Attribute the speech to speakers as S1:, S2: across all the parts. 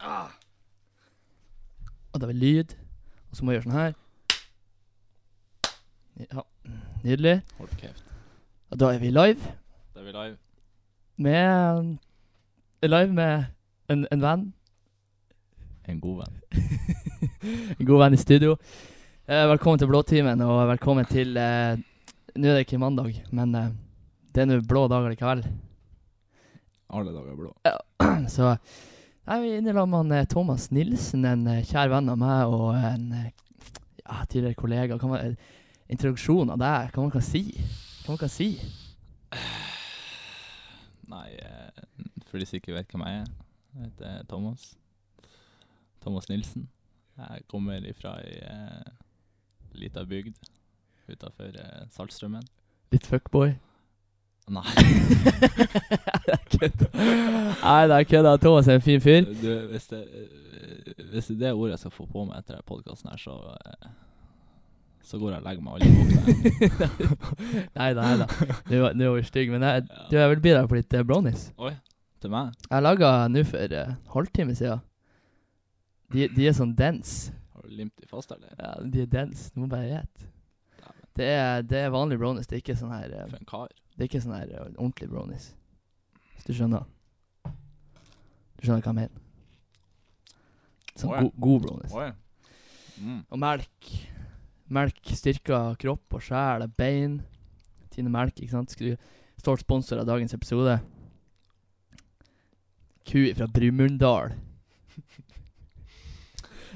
S1: Ah.
S2: Og det er vel lyd. Og så må jeg gjøre sånn her. Ja, nydelig.
S1: Hold kjeft.
S2: Og da er vi live
S1: Da er vi live.
S2: med eh, Live med en, en venn.
S1: En god venn.
S2: En god venn i studio. Eh, velkommen til Blåtimen, og velkommen til eh, Nå er det ikke mandag, men eh, det er nå blå dager likevel.
S1: Alle dager er blå.
S2: Så Nei, vi er inne i lag med han, eh, Thomas Nilsen, en eh, kjær venn av meg og en eh, ja, tidligere kollega. Kan man, eh, introduksjon av deg, hva man kan si? Hva man kan si?
S1: Nei, eh, for de som ikke vet hvem jeg er. Jeg heter Thomas. Thomas Nilsen. Jeg kommer ifra ei eh, lita bygd utafor eh, Saltstraumen.
S2: Litt fuckboy?
S1: Nei.
S2: Jeg kødder. Nei, det er kødda. Thomas er en fin fyr.
S1: Du, hvis, det, eh, hvis det er det ordet jeg skal få på meg etter denne podkasten, her, så eh, så går jeg og legger meg og ligger våken.
S2: Nei da, nei da. Nå var- nå var vi stygge, men jeg, du, jeg vil by deg på litt eh, brownies.
S1: Oi, til meg?
S2: Jeg laga nå for eh, halvtime siden. De, de er sånn dense.
S1: Har du limt de fast, eller?
S2: Ja, de er dense. Du må bare gjette. Det er, det er vanlig brownies. Det er ikke sånn her eh,
S1: For en kar.
S2: Det er ikke sånn her eh, ordentlig brownies. Hvis du skjønner. Du skjønner hva jeg mener. Sånn
S1: Åja.
S2: go god brownies.
S1: Oi. Mm.
S2: Og melk. Melk styrker kropp og sjel og bein. Tine Melk, ikke sant. Skru- Stolt sponsor av dagens episode. Ku fra Brumunddal.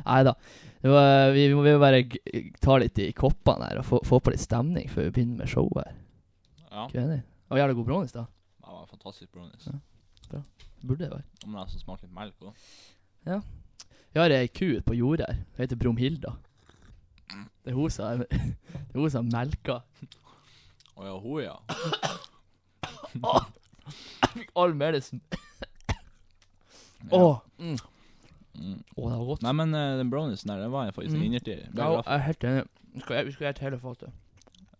S2: Nei da. Det var- Vi, vi må vi må bare g- ta litt i koppene her og få, få på litt stemning før vi begynner med showet. her.
S1: Ja,
S2: Ikke enig? Og jævla god brownies, da.
S1: det var en fantastisk brownies.
S2: Ja. Burde det være.
S1: Om det er som smaker litt melk òg.
S2: Vi har ei ku ute på jordet her. Hun heter Brumhilda. Det er hun som det er hun som melker.
S1: Å ja, hun, ja.
S2: All medicine.
S1: Ja.
S2: Åh, mm.
S1: Mm.
S2: Åh, det var godt.
S1: Nei, men eh, den brownisen der, den var jeg faktisk
S2: Mm.
S1: mm. innertier.
S2: Ja, jeg er helt enig. Vi skal, vi skal gjøre et hele fatet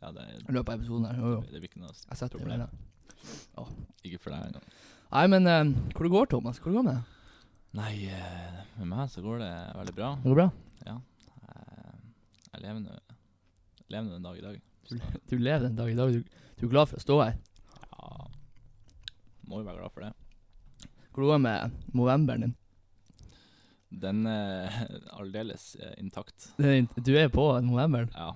S1: Ja, det,
S2: i løpet av episoden. her. Jo, jo.
S1: det blir ikke noe s-
S2: Jeg setter
S1: Problem.
S2: meg ned.
S1: Ikke for deg engang.
S2: Nei, men eh, hvor det går Thomas? Hvor det går med deg?
S1: Nei, eh, med meg så går det veldig bra.
S2: Det går bra.
S1: Eh, Jeg lever nå jeg lever nå en dag i dag.
S2: Du, du lever den dag i dag. Du, du er glad for å stå her.
S1: Ja. Må jo være glad for det.
S2: Hvor det går med novemberen din?
S1: Den er aldeles eh, intakt.
S2: Det er din- Du er på novemberen.
S1: Ja.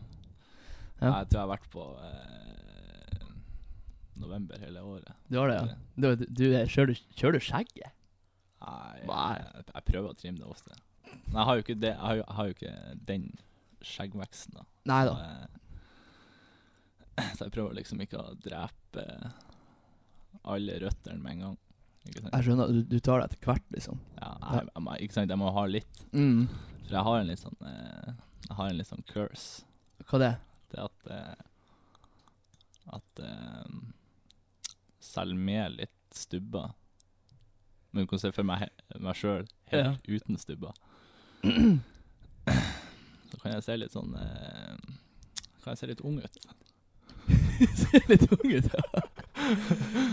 S2: Ja.
S1: Jeg tror jeg har vært på eh, november hele året.
S2: Du har det, ja. Du, du, du er, kjører, du, kjører du skjegget?
S1: Nei,
S2: Nei.
S1: Jeg, jeg prøver å trimme det ofte. Men jeg har jo ikke, det, jeg har jo, jeg har jo ikke den skjeggveksten, da.
S2: Nei da.
S1: Eh, Så jeg prøver liksom ikke å drepe eh, alle røttene med en gang. Ikke sant?
S2: Jeg skjønner. Du, du tar det etter hvert, liksom.
S1: Ja, jeg, jeg, må- ikke sant? jeg må ha litt.
S2: Mm.
S1: For jeg har en litt sånn eh, Jeg har en litt sånn curse.
S2: Hva det er?
S1: Det at eh, At eh, Selv med litt stubber Men du kan se for meg, he- meg sjøl helt uten stubber. Så kan jeg se litt sånn eh, Kan jeg se litt ung ut.
S2: Ser litt ung ut, ja.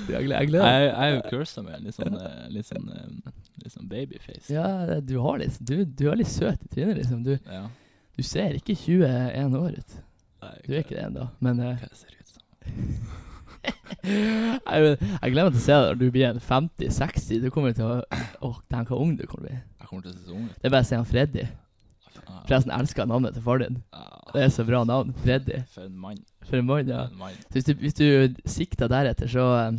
S2: Du, Jeg gleder- jeg gleder meg.
S1: Jeg, jeg er jo cursa med litt sånn, eh, litt sånn, eh, litt sånn babyface.
S2: Ja, det- du har litt Du, du er litt søt i trynet, liksom. Du,
S1: Ja.
S2: du ser ikke 21 år ut.
S1: Nei,
S2: Du er ikke det ennå, men eh,
S1: Hva jeg ser ut som.
S2: jeg, vet- jeg gleder meg til å se deg når du blir en 50-60. Du kommer til å Åh, dæven, så ung du kommer til å bli.
S1: Jeg kommer til å se så ung ut.
S2: Det er bare å si han Freddy.
S1: Ja.
S2: Forresten elsker jeg navnet til faren din. Det
S1: Ja.
S2: er så bra navn. Freddy.
S1: For en mann.
S2: For en mann,
S1: For
S2: ja.
S1: en mann.
S2: Så hvis du, hvis du sikter deretter, så eh,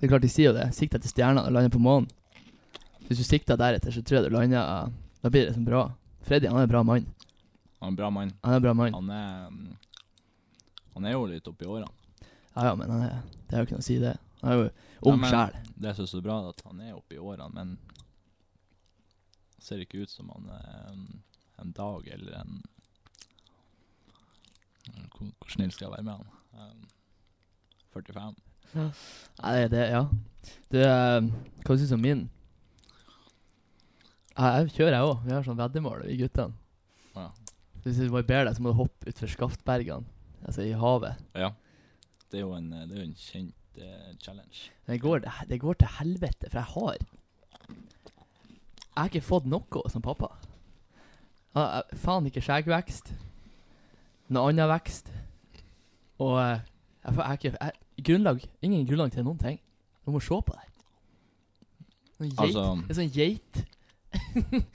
S2: Det er klart de sier jo det. Sikter til stjernene og lander på månen. Så Hvis du sikter deretter, så tror jeg du lander eh, Da blir det liksom bra. Freddy, han er en bra mann.
S1: Han er en bra mann.
S2: Han er en bra mann.
S1: Han er mm, Han er jo litt oppi årene.
S2: Ja, ja, men han er, det er jo ikke noe å si, det. Han er jo ung
S1: Ja, men-
S2: sjel.
S1: Det er så, så bra at han er oppi årene, men ser ikke ut som han er en, en dag eller en Hvor, hvor snill skal jeg være med han? Um, 45.
S2: Nei, det, det ja. Du, eh, hva syns du om min? Ja, jeg kjører, jeg òg. Vi har sånn veddemål, vi guttene.
S1: Ja.
S2: Hvis du barberer deg, så må du hoppe utfor Skaftbergene, altså i havet.
S1: ja. Det er jo en, eh, det er jo en kjent eh, challenge.
S2: Men det går, det, det går til helvete, for jeg har Jeg har ikke fått noe som pappa. Ah, eh, faen ikke skjeggvekst. Noe annen vekst. Og eh, jeg, får- jeg har ikke jeg, grunnlag, Ingen grunnlag til noen ting. Du må se på det. Noen geit,
S1: Altså
S2: Det er sånn geit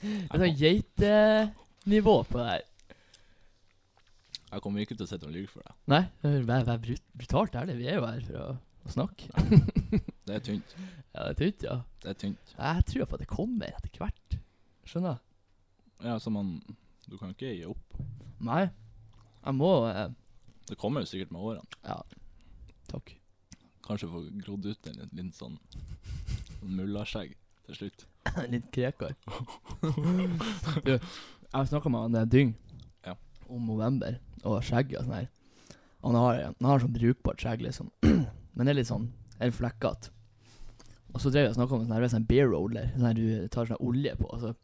S2: Det er
S1: jeg,
S2: sånn geitenivå på det her.
S1: kom- jeg kommer ikke til å sitte og lyve for deg.
S2: Nei, det er bare- bare brut brutalt ærlig. Vi er jo her for å, å snakke.
S1: Det er tynt.
S2: Ja, det er tynt, ja.
S1: Det er tynt.
S2: Jeg tror på at det kommer etter hvert. Skjønner?
S1: Ja, så man Du kan ikke gi opp.
S2: Nei. Jeg må eh,
S1: Det kommer jo sikkert med årene.
S2: Ja. Takk.
S1: Kanskje få grodd ut en liten- liten sånn mullaskjegg til slutt.
S2: Litt krekar. du, jeg snakka med han eh, Dyng
S1: Ja.
S2: om november og skjegg og sånn her. Han har, han har sånn brukbart skjegg, liksom. Men det er litt sånn Eller flekkete. Og så drev jeg og snakka om en sånn her, det er sånn beer roller. Sånn her du tar sånn her olje på, og så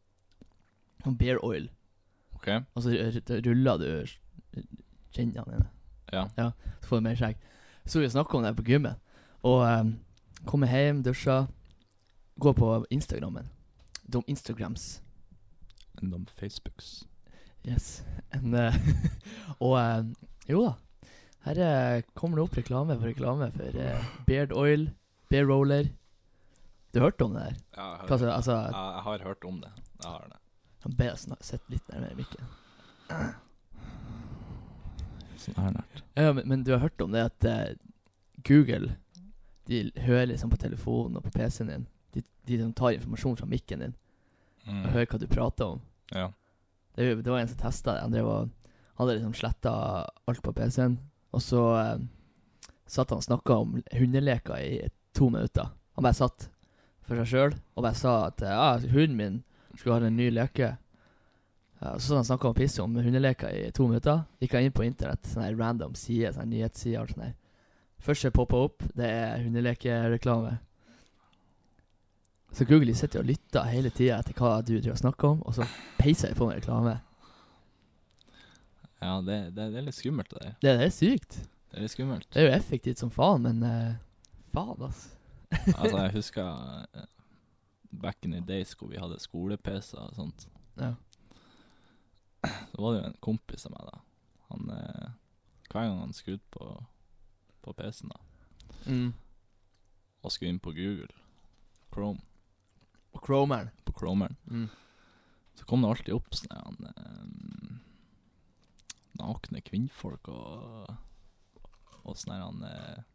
S2: sånn Beer oil.
S1: OK?
S2: Og så r- r- ruller du kinnene dine.
S1: Ja.
S2: Så får du mer skjegg. Så vi snakka om det på gymmen. Og um, kommer hjem, dusjer, går på Instagrammen. De Instagrams.
S1: Enn de Facebooks.
S2: Yes. En, eh, og eh, jo da. Her eh, kommer det opp reklame for reklame for eh, Beard Oil, Bear Roller. Du hørte om det der?
S1: Ja,
S2: Hva,
S1: jeg har,
S2: altså, altså,
S1: jeg, jeg har hørt om det. Jeg har det.
S2: han ber oss sna- sitte litt nærmere mikken.
S1: Sånn her nært.
S2: Ja, men, men du har hørt om det at eh, Google De hører liksom på telefonen og på PC-en din. De, de som tar informasjon fra mikken din og hører hva du prater om.
S1: Mm, Ja.
S2: Det, er jo- det var en som testa det. Han drev og hadde liksom sletta alt på PC-en. Og så eh, satt han og snakka om hundeleker i to minutter. Han bare satt for seg sjøl og bare sa at eh, ja, hunden min skulle ha en ny leke. Ja, og så satt han og snakka om piss om hundeleker i to minutter. Gikk han inn på internett, sånne her random sider, sånne nyhetssider og sånn her. Første poppa opp, det er hundelekereklame. Så Google de sitter jo og lytter hele tida etter hva du driver og snakker om, og så peiser jeg på med reklame.
S1: Ja, det, det, det er litt skummelt, det der.
S2: Det, det er sykt.
S1: Det er litt skummelt.
S2: Det er jo effektivt som faen, men eh, faen, ass.
S1: Altså, jeg husker eh, back in the days hvor vi hadde skole-PC og sånt.
S2: Ja.
S1: Så var det jo en kompis av meg, da. Han eh, Hver gang han skrudde på, på PC-en da Mm. og skulle inn på Google, Chrome,
S2: Og Cromeren.
S1: på Chromeren, så kom det alltid opp sånn her, han eh, Nakne kvinnfolk og Og sånn her han eh,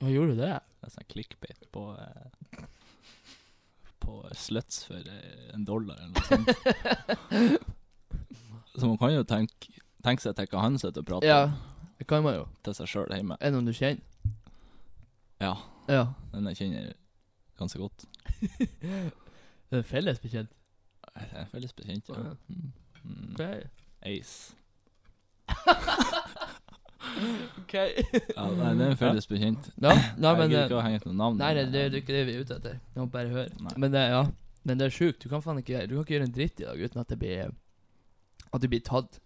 S2: Hva gjorde du det?
S1: det er sånn clickbait på eh, På sluts for eh, en dollar eller noe sånt. Så man kan jo tenke Tenk seg til hva han sitter og prater
S2: Ja,
S1: om
S2: det kan man jo.
S1: til seg sjøl hjemme.
S2: Er det noen du kjenner?
S1: Ja.
S2: Ja.
S1: Den jeg kjenner ganske godt.
S2: Det er felles bekjent.
S1: Jeg er felles bekjent, ja.
S2: Ja.
S1: Mm. Mm. Ace.
S2: OK.
S1: Ja, nei, det er en felles bekjent.
S2: Ja, nei,
S1: jeg
S2: men
S1: gidder
S2: eh,
S1: ikke å henge ut noe navn.
S2: Nei, det,
S1: men,
S2: det,
S1: eh,
S2: det er ikke det vi er ute etter. Jeg må bare høre.
S1: Nei.
S2: Men det, ja. Men det er sjukt. Du kan faen ikke Du kan ikke gjøre en dritt i dag uten at det blir At du blir tatt.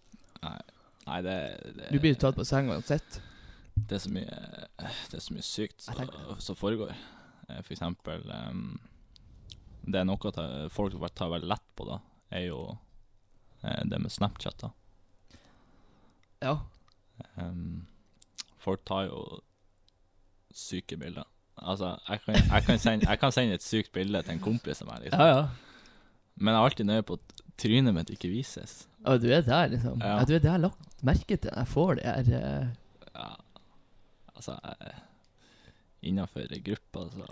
S1: Nei, det, det
S2: Du blir jo tatt på senga uansett.
S1: Det er så mye, det er så mye sykt
S2: Jeg tenker-
S1: som- som foregår. Eh, For eksempel em, Det er noe at eh, folk tar- tar veldig lett på, da, er jo eh, det med Snapchat, da.
S2: Ja.
S1: Em, folk tar jo syke bilder. Altså, jeg kan, jeg, kan sende, jeg kan sende et sykt bilde til en kompis av meg, liksom.
S2: Ja, ja.
S1: Men jeg er alltid nøye på at trynet mitt ikke vises.
S2: Ja, du er der, liksom. Ja,
S1: Ja.
S2: du er der lagt merke til. Jeg får det her eh,
S1: Ja. Altså Innafor gruppa, så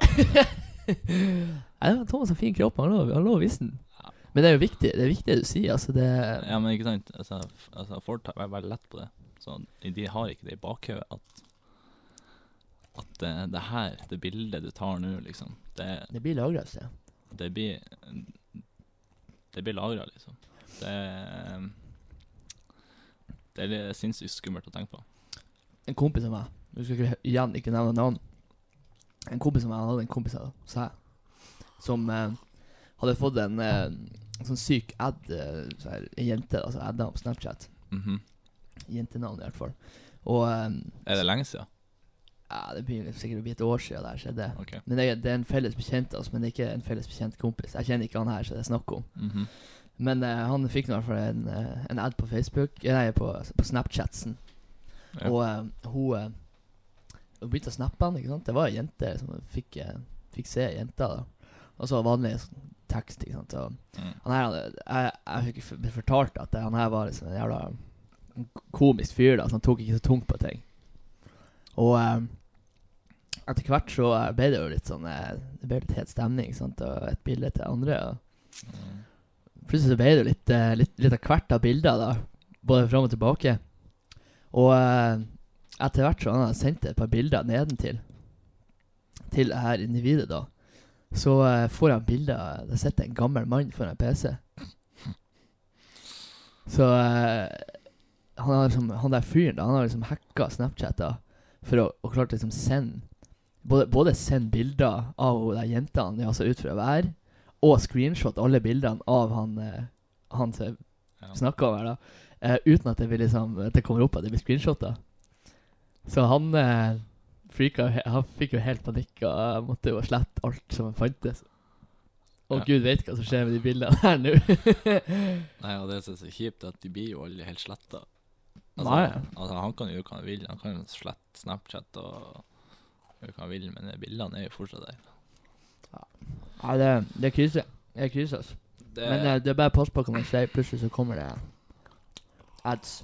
S2: Nei, det var Thomas har fin kropp, han lå- han lå og viste den.
S1: Ja.
S2: Men det er jo viktig, det er viktig det du sier. Altså, det
S1: Ja, men ikke sant. Altså, f- altså Folk tar er veldig lett på det. Så de har ikke det i bakhodet at At eh, det her, det bildet du tar nå, liksom, det,
S2: Det blir lagra et sted.
S1: det blir Det blir lagra, liksom. Det Det er litt sinnssykt skummelt å tenke på.
S2: En kompis av meg Du skal ikke, igjen ikke nevne navn. En kompis av meg han hadde en kompis av seg som eh, hadde fått en eh, sånn syk ad eh, så her, En jente, altså adda på Snapchat.
S1: Mhm.
S2: Jentenavn, i hvert fall. Og eh,
S1: Er det lenge siden?
S2: Ja, det blir sikkert å bli et år siden det her skjedde.
S1: Ok.
S2: Men det, er- det er en felles bekjent av oss, men ikke en felles bekjent kompis. Jeg kjenner ikke han her, så det er snakk om.
S1: Mhm.
S2: Men eh, han fikk nå i hvert fall en, eh, en ad på Facebook eh, Nei, på, altså, på Snapchatsen.
S1: Ja.
S2: Og eh, hun eh, Hun begynte å snappe han, ikke sant. Det var ei jente som fikk, eh, fikk se jenta, da. Og så vanlig sånn tekst, ikke sant. Så
S1: Mm.
S2: han her hadde, jeg, jeg fikk f- blitt fortalt at eh, han her var liksom en jævla komisk fyr, da, så han tok ikke så tungt på ting. Og eh, etter hvert så eh, ble det jo litt sånn eh, Det ble litt het stemning, ikke sant, og et bilde til andre. Og
S1: Mm.
S2: Plutselig så ble det jo litt, eh, litt, litt av hvert av bilder, da. Både fram og tilbake. Og eh, etter hvert så han hadde sendt et par bilder nedentil til det her individet, da. Så eh, får han bilder Det sitter en gammel mann foran PC. Så eh, han, har liksom, han der fyren, da, han har liksom hacka Snapchat da for å, å klart liksom sende både, både sende bilder av hun der jenta han ja, så ut for å være, og screenshot alle bildene av han eh, Han som jeg
S1: Ja.
S2: snakka om her, da. Eh, uten at det, blir liksom, at det kommer opp at det blir screenshotta. Så han eh, freaka jo he- Han fikk jo helt panikk og eh, måtte jo slette alt som fantes. Og
S1: Ja.
S2: gud veit hva som skjer med de bildene her nå.
S1: Nei, og det som er så kjipt, er at de blir jo aldri helt sletta.
S2: Nei.
S1: altså, han kan jo gjøre hva han vil. Han kan jo slette Snapchat og gjøre hva han vil, men de bildene er jo fortsatt der.
S2: Nei, det, det er krise. Det er krise, altså.
S1: Det,
S2: Men eh, det er bare pass på hva man sier. Plutselig så kommer det ads.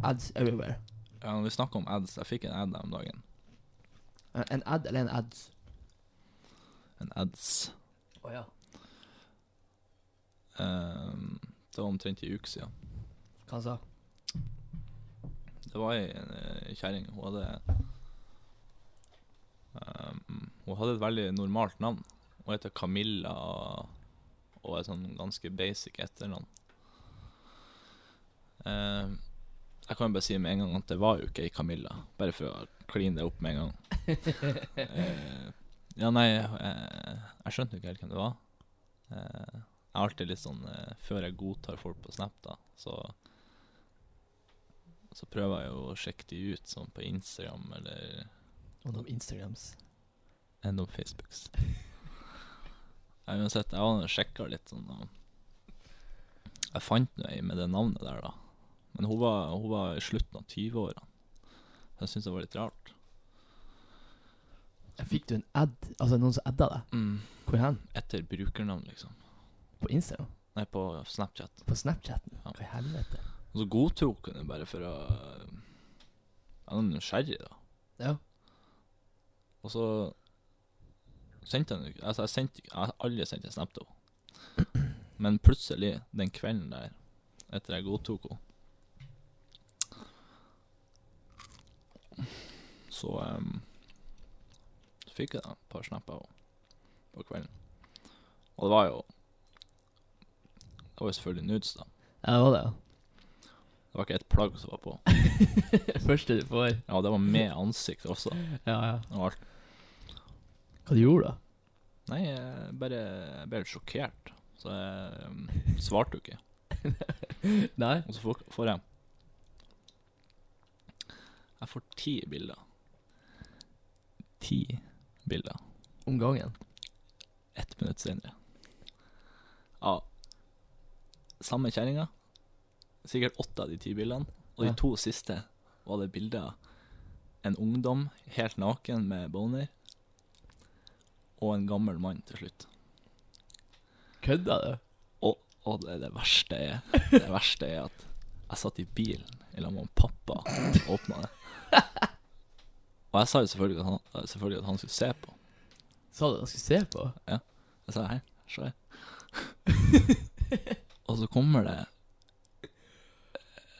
S2: Ads everywhere.
S1: ja, når vi snakker om ads, jeg fikk en ad her om dagen.
S2: Eh, En ad eller en ads?
S1: En ads.
S2: Å ja.
S1: Ehm, det var omtrent en uke siden.
S2: Hva sa
S1: Det var ei eh, kjerring. Hun hadde ehm, Hun hadde et veldig normalt navn. Hun heter Camilla og er sånn ganske basic etternavn. Ehm, jeg kan jo bare si med en gang at det var jo ikke ei Camilla, bare for å kline det opp med en gang. Eh, ja, nei, eh, jeg skjønte jo ikke helt hvem det var. Eh, jeg er alltid litt sånn eh, Før jeg godtar folk på Snap, da, så så prøver jeg jo å sjekke de ut sånn på Instagram eller
S2: Noen av Instagrams.
S1: enn om Facebooks. Nei, Uansett, jeg har sjekka litt sånn og Jeg fant nå ei med det navnet der, da. Men hun var, hun var i slutten av 20-åra. Jeg syns det var litt rart.
S2: Fikk du en ad? Altså noen som adda deg?
S1: Mm.
S2: Hvor hen?
S1: Etter brukernavn, liksom.
S2: På Instagram?
S1: Nei, på Snapchat.
S2: På Snapchatten?
S1: Ja.
S2: Hva i helvete?
S1: Og så godtok hun det bare for å Jeg var nysgjerrig, da.
S2: Ja.
S1: Og så sendte han jo ikke Altså, jeg sendte ikke Jeg har aldri sendt en snap til henne. Men plutselig, den kvelden der, etter jeg godtok henne Så em, så fikk jeg da et par snapper av henne på kvelden. Og det var jo Det var jo selvfølgelig nudes, da.
S2: Ja, det var det, ja.
S1: Det var ikke et plagg som var på.
S2: Første du får.
S1: Ja, det var med ansikt også.
S2: Ja, ja.
S1: Og alt.
S2: Hva du gjorde da?
S1: Nei, jeg bare jeg ble helt sjokkert. Så jeg um, svarte jo ikke.
S2: Nei?
S1: Og så får, får jeg Jeg får ti bilder. Ti bilder.
S2: Om gangen.
S1: Ett minutt senere. Av samme kjerringa. Sikkert åtte av de ti bildene. Og
S2: Ja.
S1: de to siste var det bilder av en ungdom helt naken med boner. Og en gammel mann til slutt.
S2: Kødda du?
S1: Og, og det, det verste er Det verste er at jeg satt i bilen i lag med pappa og åpna det. Og jeg sa jo selvfølgelig at han, selvfølgelig at han skulle se på.
S2: Sa du hva du skulle se på?
S1: Jeg sa her, se her. og så kommer det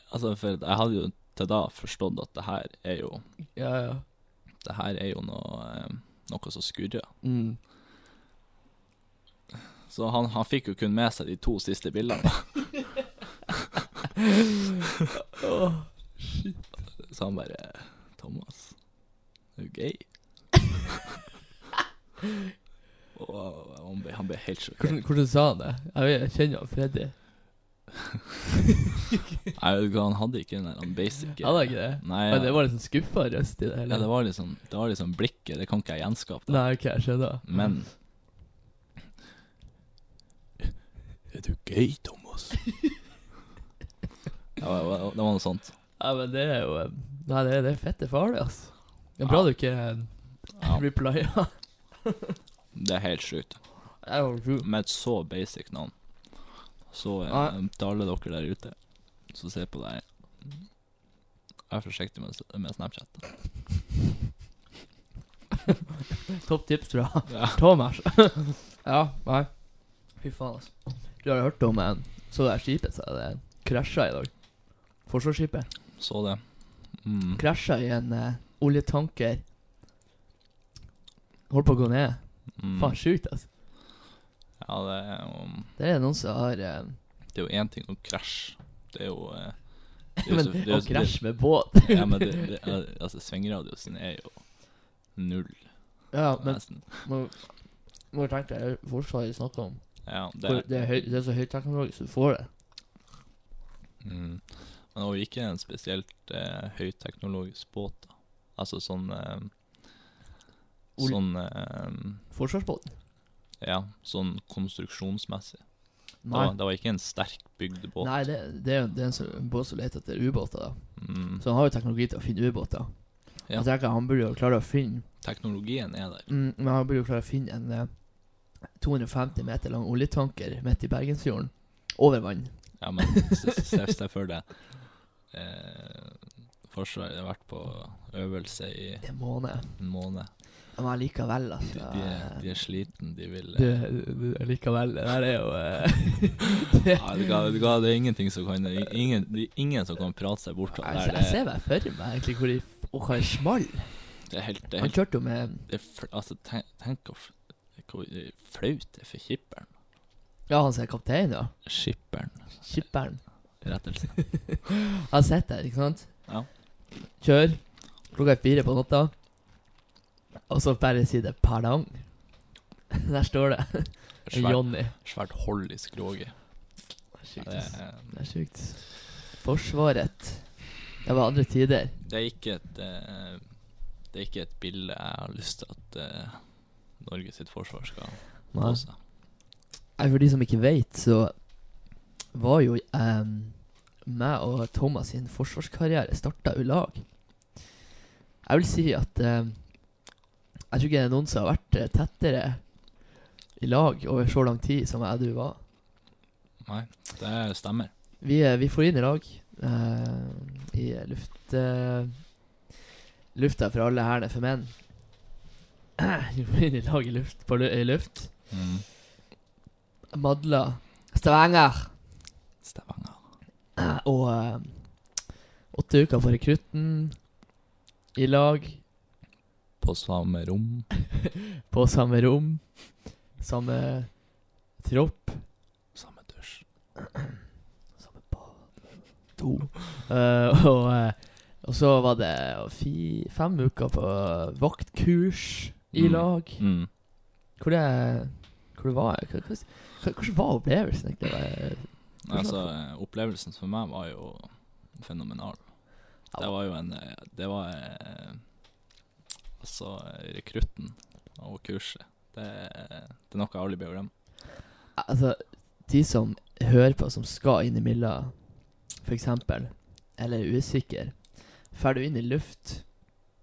S1: Altså, for jeg hadde jo til da forstått at det her er jo
S2: Ja, ja.
S1: Det her er jo noe, eh, noe som skurrer.
S2: Mm.
S1: Så han, han fikk jo kun med seg de to siste bildene. Så han bare Thomas, er du gay? og han ble, han ble helt sjokkert.
S2: Hvordan, hvordan sa han det? Jeg, vet, jeg kjenner jo han Freddy.
S1: Nei, vet du hva, han hadde ikke den der han basic
S2: Hadde han ikke det?
S1: Nei,
S2: Men det var liksom skuffa røst i det hele.
S1: ja, det var liksom, det var liksom blikket. Det kan ikke jeg gjenskape. Da.
S2: Nei, ok, jeg skjønner.
S1: Men Er du gay, Thomas? ja, det var, det var noe sånt.
S2: Nei, men det er jo eh, Nei, det, det er fette farlig, altså. Det er bra
S1: Ja.
S2: du ikke eh,
S1: Ja,
S2: replya.
S1: det er helt sjukt.
S2: Det er jo sjukt.
S1: Med et så basic navn. Så eh,
S2: Ja.
S1: til alle dere der ute som ser på det her Vær forsiktig med, med Snapchat.
S2: Topp tips fra
S1: Ja.
S2: Thomas. ja, nei. Fy faen, altså. Du har hørt om en så det her skipet som det krasja i dag? Forsvarsskipet.
S1: Så det. Mm.
S2: Krasja i en eh, oljetanker. Holdt på å gå ned.
S1: Mm.
S2: Faen, sjukt, altså.
S1: Ja, det er jo
S2: Det er noen som har eh,
S1: Det er jo én ting å krasje. Det er jo eh, det er jo
S2: Men
S1: så- det er
S2: å
S1: jo-
S2: krasje med båt
S1: det- Ja, men det, det, er- altså, svingradiusen er jo null,
S2: Ja, men
S1: nesten.
S2: nå- nå tenkte jeg Forsvaret snakker om
S1: Ja, det,
S2: For det, er høy, det er så høyteknologisk du får det.
S1: Mm. Men det var jo ikke en spesielt eh, høyteknologisk båt. da. Altså sånn eh,
S2: Ol-
S1: Sånn eh,
S2: Forsvarsbåten.
S1: Ja, sånn konstruksjonsmessig. Det
S2: Nei,
S1: var, det var ikke en sterk bygd båt.
S2: Nei det, det er jo det er en, som- en båt som leter etter ubåter. da
S1: Mm.
S2: Så han har jo teknologi til å finne ubåter.
S1: Ja.
S2: Jeg tenker Han burde jo klare å finne
S1: Teknologien er der.
S2: mm, Men han burde jo klare å finne en eh, 250 meter lang oljetanker midt i Bergensfjorden. Over vann.
S1: Ja, men se- se- se se for deg eh, Forsvaret har vært på øvelse i
S2: Det må han.
S1: en måned.
S2: Men likevel,
S1: De,
S2: altså.
S1: de, er, de er sliten, de vil eh,
S2: likevel. Det der er jo eh,
S1: eh, ja, vet du hva, vet du hva, Det er ingenting som kan det er ingen, det er ingen som kan prate seg bort fra
S2: Jeg,
S1: det.
S2: jeg,
S1: her. Det,
S2: ser meg for meg egentlig hvor de Og hva er smal?
S1: er- det er helt, det er
S2: Han
S1: helt
S2: kjørte jo med
S1: det er fl altså, tenk, tenk å f- hvor eh, flaut det er for skipperen.
S2: Ja, han som er kaptein, ja.
S1: Skipperen,
S2: Skipperen.
S1: rettelse.
S2: Han sitter der, ikke sant?
S1: Ja.
S2: Kjør. Klokka er fire på natta. Og så bare sier det perdong. Der står det.
S1: Svært,
S2: Johnny.
S1: svært hold i skroget. Ja,
S2: Det
S1: det,
S2: er
S1: er- eh,
S2: sjukt. Forsvaret. Det var andre tider.
S1: det er ikke et eh, Det er ikke et bilde jeg har lyst til at eh, Norge sitt forsvar skal få
S2: Nei,
S1: seg.
S2: for de som ikke vet, så var jo em, meg og Thomas sin forsvarskarriere starta i lag. Jeg vil si at em, jeg tror ikke det er noen som har vært eh, tettere i lag over så lang tid som jeg og du var.
S1: Nei, det stemmer.
S2: Vi, eh, vi for inn i lag eh, i luft, eh, lufta for alle hærene for menn. vi for inn i lag i luft, på lu i luft.
S1: Mm.
S2: Madla, Stavanger
S1: Stavanger.
S2: og eh, åtte uker på rekrutten. I lag,
S1: På samme rom.
S2: på samme rom, samme tropp.
S1: Samme dusj.
S2: Samme bad. To. Eh, og, eh, og så var det fi, fem uker på vaktkurs i
S1: Mm.
S2: lag.
S1: Mm.
S2: Hvor det Hvor det var hva- hva- hva- Hvordan var opplevelsen egentlig? Var-
S1: Altså, eh, opplevelsen for meg var jo fenomenal.
S2: Ja.
S1: Det var jo en eh, Det var eh, Altså, eh, rekrutten og kurset. Det, er- det er noe jeg aldri blir å glemme.
S2: Altså, de som hører på, som skal inn i Milla, for eksempel, eller er usikker, drar du inn i luft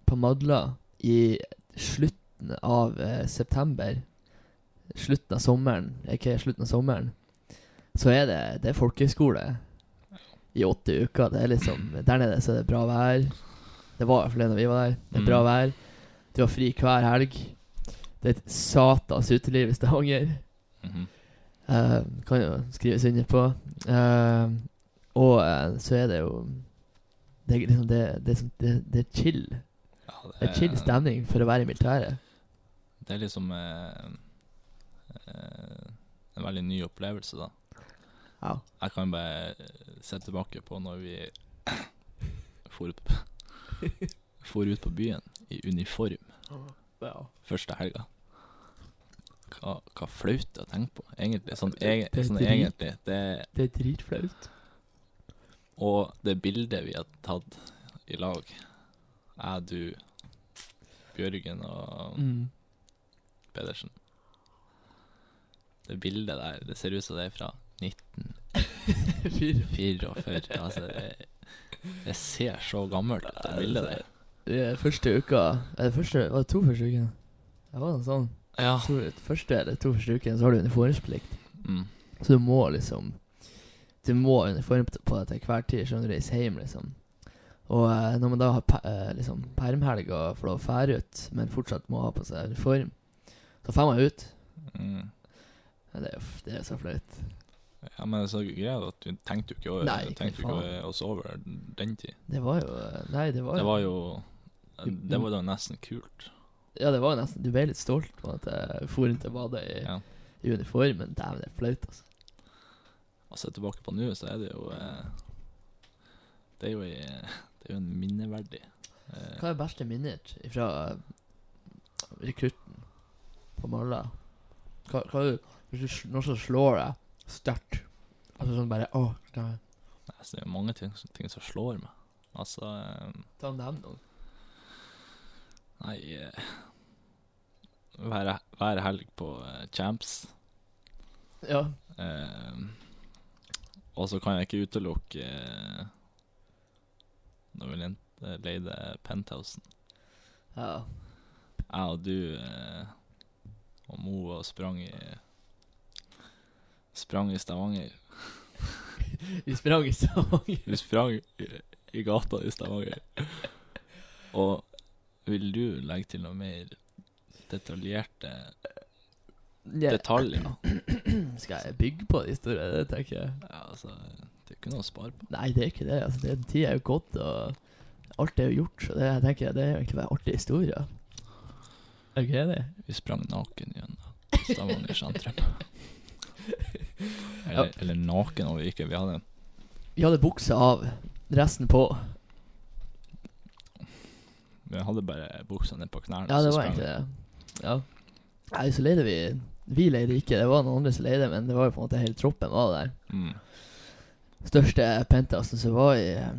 S2: på Madla i slutten av eh, september, slutten av sommeren, ikke slutten av sommeren, så er det, det er folkehøyskole i åtte uker. Det er liksom, der nede så er det bra vær. Det var i hvert fall det når vi var der. Det er bra
S1: Mm.
S2: vær. Du har fri hver helg. Det er et satans uteliv i Stavanger.
S1: Mhm.
S2: Eh, kan jo skrives under på. Eh, og eh, så er det jo Det er liksom det, det, er sånn- det, det er chill.
S1: ja,
S2: Det er chill stemning for å være i militæret.
S1: Det er liksom eh, eh, en veldig ny opplevelse, da.
S2: Ja.
S1: Jeg kan bare eh, se tilbake på når vi for ut, for ut på byen i uniform første helga. hva, hva flaut å tenke på, egentlig. Sånn,
S2: Det-
S1: egen,
S2: det er
S1: sånn
S2: drit.
S1: egentlig. Det,
S2: Det er dritflaut.
S1: og det bildet vi har tatt i lag, jeg, du, Bjørgen og
S2: Mm.
S1: Pedersen Det bildet der, det ser ut som det er fra 1944. altså, det, det ser så gammelt ut, det bildet der.
S2: Det er første uka er det første, Var det to første ukene? Det var noe sånn.
S1: Ja.
S2: Jeg tror det første eller to første ukene så har du uniformsplikt.
S1: Mm.
S2: Så du må liksom Du må ha uniform på deg til hver tid sånn du reiser hjem, liksom. Og eh, når man da har pe eh, liksom permhelg og får lov å fære ut, men fortsatt må ha på seg uniform, så drar man ut.
S1: Mm.
S2: Ja, Det er jo f- det er så flaut.
S1: Ja, men det er så greit at du tenkte jo ikke over,
S2: Nei,
S1: du tenkte jo
S2: faen.
S1: ikke oss over den tid.
S2: Det var jo eh, Nei, det var
S1: Det
S2: jo
S1: var jo Det var da nesten kult.
S2: Ja, det var jo nesten Du ble litt stolt på at jeg for inn til badet i,
S1: Ja.
S2: i uniform, men dæven, det er flaut, altså.
S1: Å se tilbake på nå, så er det jo eh, Det er jo, ei- det er jo en minneverdig eh,
S2: Hva er beste minnet fra eh, rekrutten på Malla? Hva, hva er det, hvis du, sl- noen som slår deg sterkt Altså sånn bare Å, nei.
S1: altså, Det er jo mange ting, ting som slår meg. Altså eh,
S2: Ta og nevn noen.
S1: Nei eh, hver, hver helg på eh, Champs.
S2: Ja.
S1: Eh, og så kan jeg ikke utelukke eh, Når vi lente- leide Penthousen.
S2: ja.
S1: Jeg og du eh, og Mo og sprang i Sprang i Stavanger.
S2: Vi sprang i Stavanger.
S1: Vi sprang i, i gata i Stavanger. Og vil du legge til noe mer detaljerte
S2: Ja,
S1: detaljer?
S2: Skal jeg bygge på de store? Det tenker jeg.
S1: Ja, altså, det er ikke noe å spare på.
S2: Nei, det er ikke det. Altså, det Tida er jo gått, og alt er jo gjort. Så det jeg tenker jeg, det er jo egentlig bare artige historier. Er du ikke enig?
S1: Vi sprang naken gjennom Stavanger sentrum. Eller, eller naken over ikke. Vi hadde en
S2: Vi hadde buksa av, resten på.
S1: Vi hadde bare buksa ned på knærne.
S2: Ja,
S1: så
S2: det var
S1: sprang
S2: egentlig det. Ja. Nei, så leide vi Vi leide ikke, det var noen andre som leide, men det var jo på en måte hele troppen var der.
S1: vi. Mm.
S2: Største penthousen som var i eh,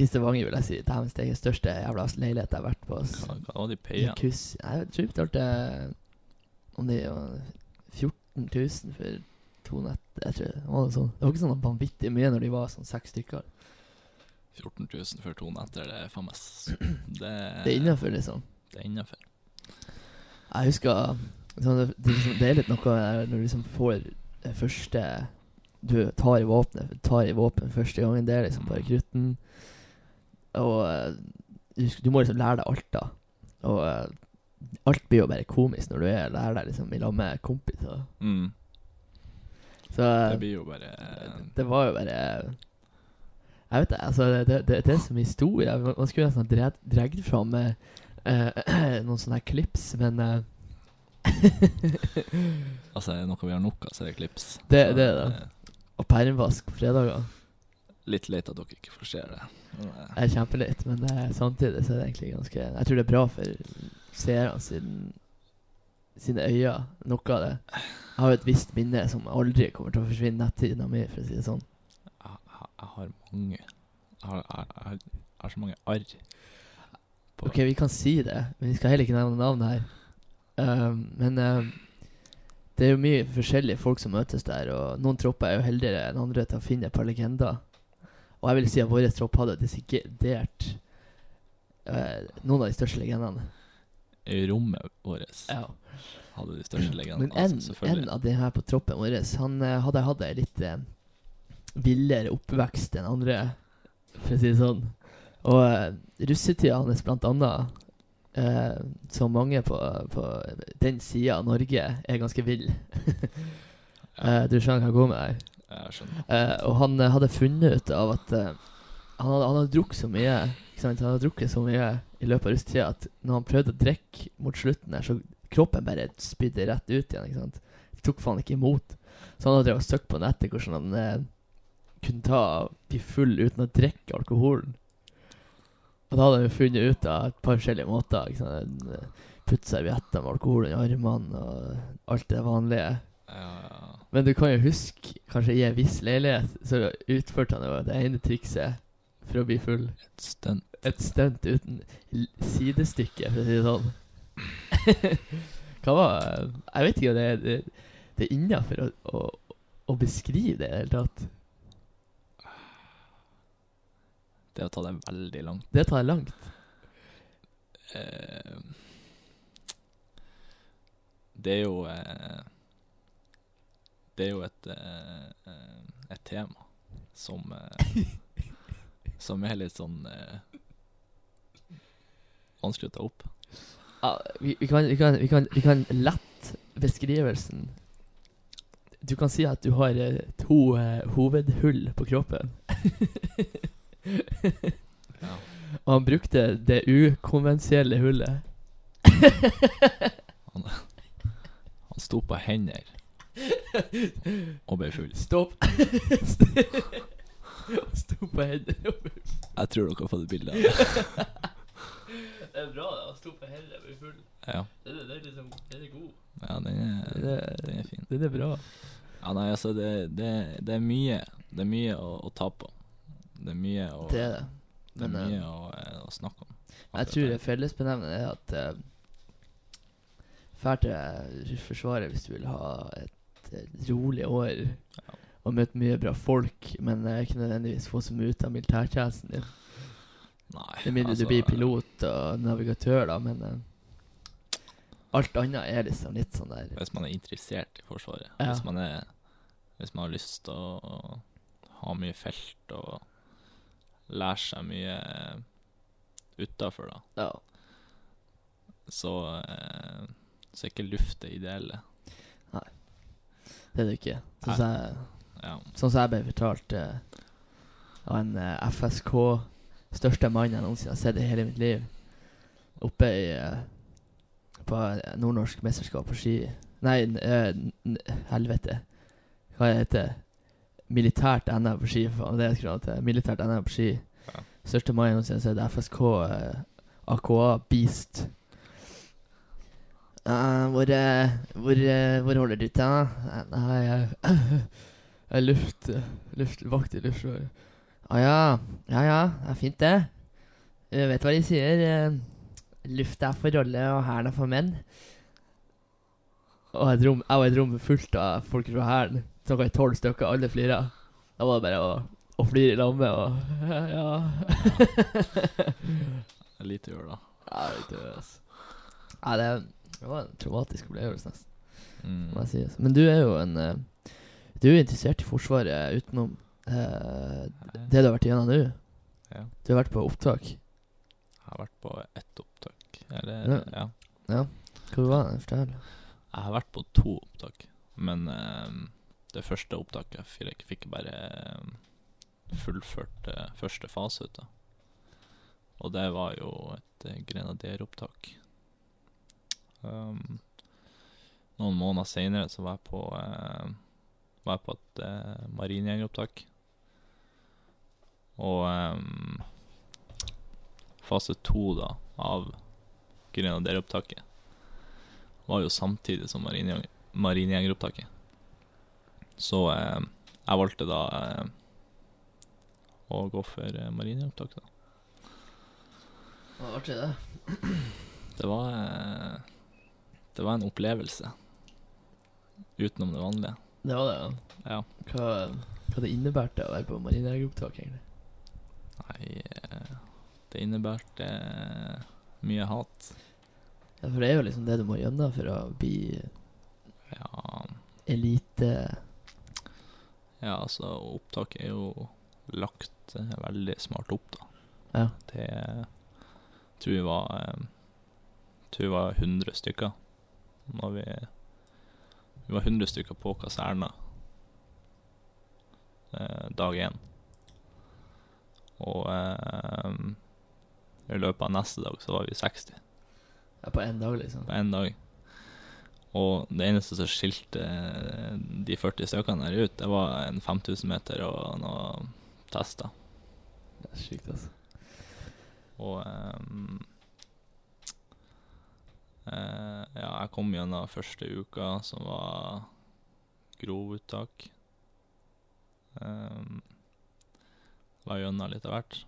S2: I Stavanger, vil jeg si. Dæven steike, største jævla leilighet jeg har vært på. ass.
S1: Hva, hva var de peiene?
S2: Jacuzzi Nei, Jeg tror vi betalte eh, om det var 14 000 for to netter. Jeg tror det var noe sånt. Det var ikke sånn vanvittig mye når de var sånn seks stykker.
S1: 14 000 for to netter, det er faen meg s- Det,
S2: Det er innafor, liksom.
S1: Det er innenfor.
S2: Jeg husker sånn, det, det, liksom, det er litt noe når du liksom får det første Du tar i våpenet Tar i våpen første gangen. Det er liksom på rekrutten. Og eh, du, sk- du må liksom lære deg alt, da. Og eh, alt blir jo bare komisk når du er lærer deg liksom i lag med kompiser.
S1: Mm.
S2: Så
S1: Det
S2: eh,
S1: blir jo bare
S2: det var jo bare Jeg vet det, altså det, det, det, det er så mye historie. Man- Man skulle nesten ha dreg- dregd fram eh, eh, noen sånne her klips, men eh,
S1: Altså, er det noe vi har nok av, så er det klips.
S2: Det-
S1: Så,
S2: det er det.
S1: eh,
S2: Og permvask på fredager.
S1: Litt leit at dere ikke får se det. Men, eh,
S2: Det er kjempeleit, men det er, samtidig så er det egentlig ganske Jeg tror det er bra for seerne siden sine øyne, noe av det. Jeg har jo et visst minne som aldri kommer til å forsvinne nettina mi, for å si det sånn.
S1: Jeg, jeg, jeg har mange Jeg har, jeg, jeg har, jeg har så mange arr. på-
S2: Ok, vi kan si det, men vi skal heller ikke nevne navn her. Ehm, men ehm, det er jo mye forskjellige folk som møtes der, og noen tropper er jo heldigere enn andre til å finne et par legender. Og jeg vil si at vår tropp hadde desidert eh, noen av de største legendene.
S1: I rommet vårt
S2: Ja.
S1: hadde de største legendene.
S2: Men en,
S1: altså,
S2: en
S1: selvfølgelig.
S2: av de her på troppen vår, han eh, hadde hatt ei litt eh, villere oppvekst enn andre, for å si det sånn. Og eh, russetida hans, blant annet, eh, som mange på, på den sida av Norge er ganske vill. Eh, du skjønner hva jeg går med her.
S1: Jeg skjønner.
S2: Eh, og han eh, hadde funnet ut av at eh, han, hadde, han hadde drukket så mye ikke sant? Han hadde drukket så mye i løpet av russetida at når han prøvde å drikke mot slutten, der, så kroppen bare spydde rett ut igjen. ikke sant? Tok faen ikke imot. Så han hadde drevet og søkt på nettet hvordan han eh, kunne ta bli full uten å drikke alkoholen. Og da hadde han jo funnet ut av et par forskjellige måter. ikke sant? eh, putte servietter med alkohol under armene og alt det vanlige.
S1: Ja, ja.
S2: Men du kan jo huske, kanskje i en viss leilighet, så utførte han jo det ene trikset for å bli full.
S1: Et stunt.
S2: Et stunt uten l- sidestykke, for å si det sånn. Hva var Jeg vet ikke om det er, det, det er innafor å, å, å beskrive det i det hele tatt.
S1: Det å ta det veldig langt.
S2: Det tar langt.
S1: Eh, det er jo eh, Det er jo et, eh, eh, et tema som eh, Som er litt sånn eh, vanskelig å ta opp.
S2: Ja, vi, vi, kan, vi, kan, vi, kan, vi kan lett beskrivelsen. Du kan si at du har eh, to eh, hovedhull på kroppen.
S1: Ja.
S2: Og han brukte det ukonvensielle hullet.
S1: Han sto på hender og ble full.
S2: Stopp. Sto på hendene og ble-
S1: Jeg tror dere har fått et bilde av det.
S2: Det er bra, da. Sto på hendene og ble full.
S1: Ja,
S2: Den er, den er liksom Den er god.
S1: ja den, er,
S2: Det-
S1: den er fin.
S2: Den er bra.
S1: Ja, nei, altså, det, det, det er mye Det er mye å, å ta på. Det er mye å,
S2: Det er det.
S1: det er
S2: men,
S1: mye å, eh, å snakke om.
S2: Jeg
S1: Akkurat
S2: tror
S1: det.
S2: det fellesbenevnende er at uh, Fær til Forsvaret eh, hvis du vil ha et eh, rolig år og møte mye bra folk, men eh, ikke nødvendigvis få så mye ut av militærtjenesten din.
S1: Nei, altså,
S2: Med mindre du blir pilot og navigatør, da, men eh, alt annet er liksom litt sånn der
S1: Hvis man er interessert i Forsvaret,
S2: Ja.
S1: hvis, man er, hvis man har lyst til å, å ha mye felt og lære seg mye utafor, da,
S2: Ja.
S1: så, eh, så er ikke luft det ideelle.
S2: Det er det ikke. Sånn
S1: Nei.
S2: som jeg,
S1: Ja.
S2: sånn som jeg ble fortalt eh, av en eh, FSK, største mann jeg noensinne har sett i hele mitt liv, oppe i eh, på eh, nordnorsk mesterskap på ski Nei, n- eh, n- helvete. Hva heter det? Militært NM på ski, faen. Det er skrevet til. eh, Militært NM på ski.
S1: Ja.
S2: Største mann jeg noensinne har sett. FSK, eh, AKA, Beast. Eh, hvor, eh, hvor, eh, hvor holder du til, da? Eh, Nei, jeg Jeg er Eh, luft, luft, vakt i Luftforsvaret. Å ja. Ja ja, det er fint, det. Jeg vet hva de sier. eh, Lufta er for rolle, og hæren er for menn. Og et rom, jeg var i et rom fullt av folk fra hæren. Snakka i tolv stykker, alle flira. Da var det bare å, å flire i lag med og Ja.
S1: Det er Lite å gjøre, da.
S2: Ja, det er død, altså. Nei, det, det var en traumatisk opplevelse, nesten. Må
S1: Mm.
S2: jeg si. altså. Men du er jo en eh, Du er jo interessert i Forsvaret utenom eh,
S1: Nei,
S2: det du har vært igjennom nå.
S1: Ja.
S2: Du har vært på opptak.
S1: Jeg har vært på ett opptak. Eller, ja.
S2: Hvor var det? Fortell.
S1: Jeg har vært på to opptak, men ehm, det første opptaket fikk jeg fikk jeg bare ehm, fullført eh, første fase ut av. Og det var jo et eh, grenaderopptak. Ehm, noen måneder seinere så var jeg på, eh, var jeg på et uh, marinejegeropptak. Og ehm, fase to, da, av grenaderopptaket var jo samtidig som marinejeg- marinejegeropptaket. Så eh, jeg valgte da eh, å gå for eh, marinejegeropptaket. da.
S2: Det var artig, det.
S1: Det var eh, Det var en opplevelse utenom det vanlige.
S2: Det var det, ja.
S1: Ja.
S2: Hva, hva det innebærte å være på marinejegeropptak, egentlig.
S1: Nei, eh, det innebærte eh, mye hat.
S2: Ja, for det er jo liksom det du må gjennom for å bli
S1: Ja,
S2: elite.
S1: ja, altså, opptaket er jo lagt eh, veldig smart opp, da.
S2: Ja.
S1: Det tror vi var eh, Tror vi var 100 stykker. Når vi Vi var 100 stykker på kaserna eh, dag én. Og eh, i løpet av neste dag så var vi 60
S2: ja på én dag, liksom.
S1: på én dag. Og det eneste som skilte eh, de 40 stykkene her ut, det var en 5000 meter og noen tester.
S2: Det er sykt, altså.
S1: Og ehm, Eh, ja, jeg kom gjennom første uka, som var grovuttak. Um, var gjennom litt av hvert.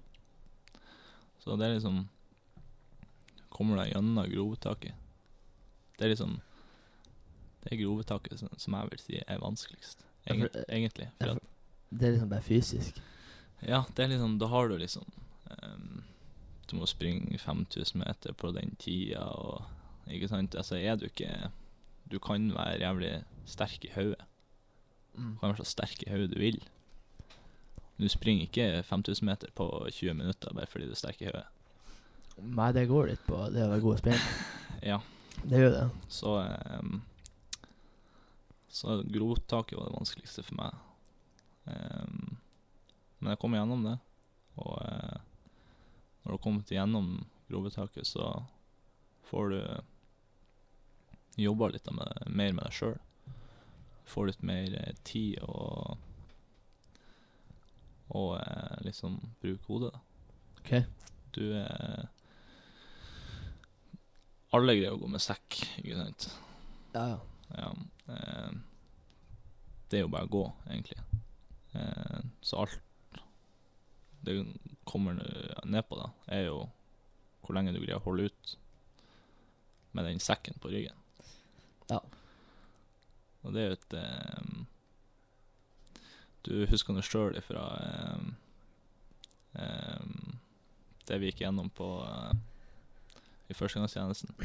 S1: Så det er liksom Kommer deg gjennom grovuttaket. Det er liksom Det er grovuttaket som, som jeg vil si er vanskeligst,
S2: Ja, for-
S1: egent, egentlig.
S2: ja,
S1: For at,
S2: Det er liksom bare fysisk.
S1: ja, det er liksom Da har du liksom ehm, Du må springe 5000 meter på den tida og Ikke sant? Altså er du ikke Du kan være jævlig sterk i hodet. Du kan være så sterk i hodet du vil. Men Du springer ikke 5000 meter på 20 minutter bare fordi du er sterk i hodet.
S2: Nei, det går litt på det å være god i spinn.
S1: Ja.
S2: Det gjør det.
S1: Så um, Så grovtaket var det vanskeligste for meg. Ehm, men jeg kom igjennom det. Og eh, når du har kommet igjennom grovtaket, så får du jobba litt med, mer med deg sjøl. Får litt mer eh, tid og Og eh, liksom bruke hodet. da.
S2: OK.
S1: Du er Alle greier å gå med sekk, ikke sant?
S2: Ja, ja.
S1: Ja, eh, det er jo bare å gå, egentlig. Eh, så alt det kommer n- ned på, da, er jo hvor lenge du greier å holde ut med den sekken på ryggen.
S2: Ja.
S1: Og det er jo et eh, Du husker nå sjøl ifra eh, eh, det vi gikk gjennom på eh, i førstegangstjenesten,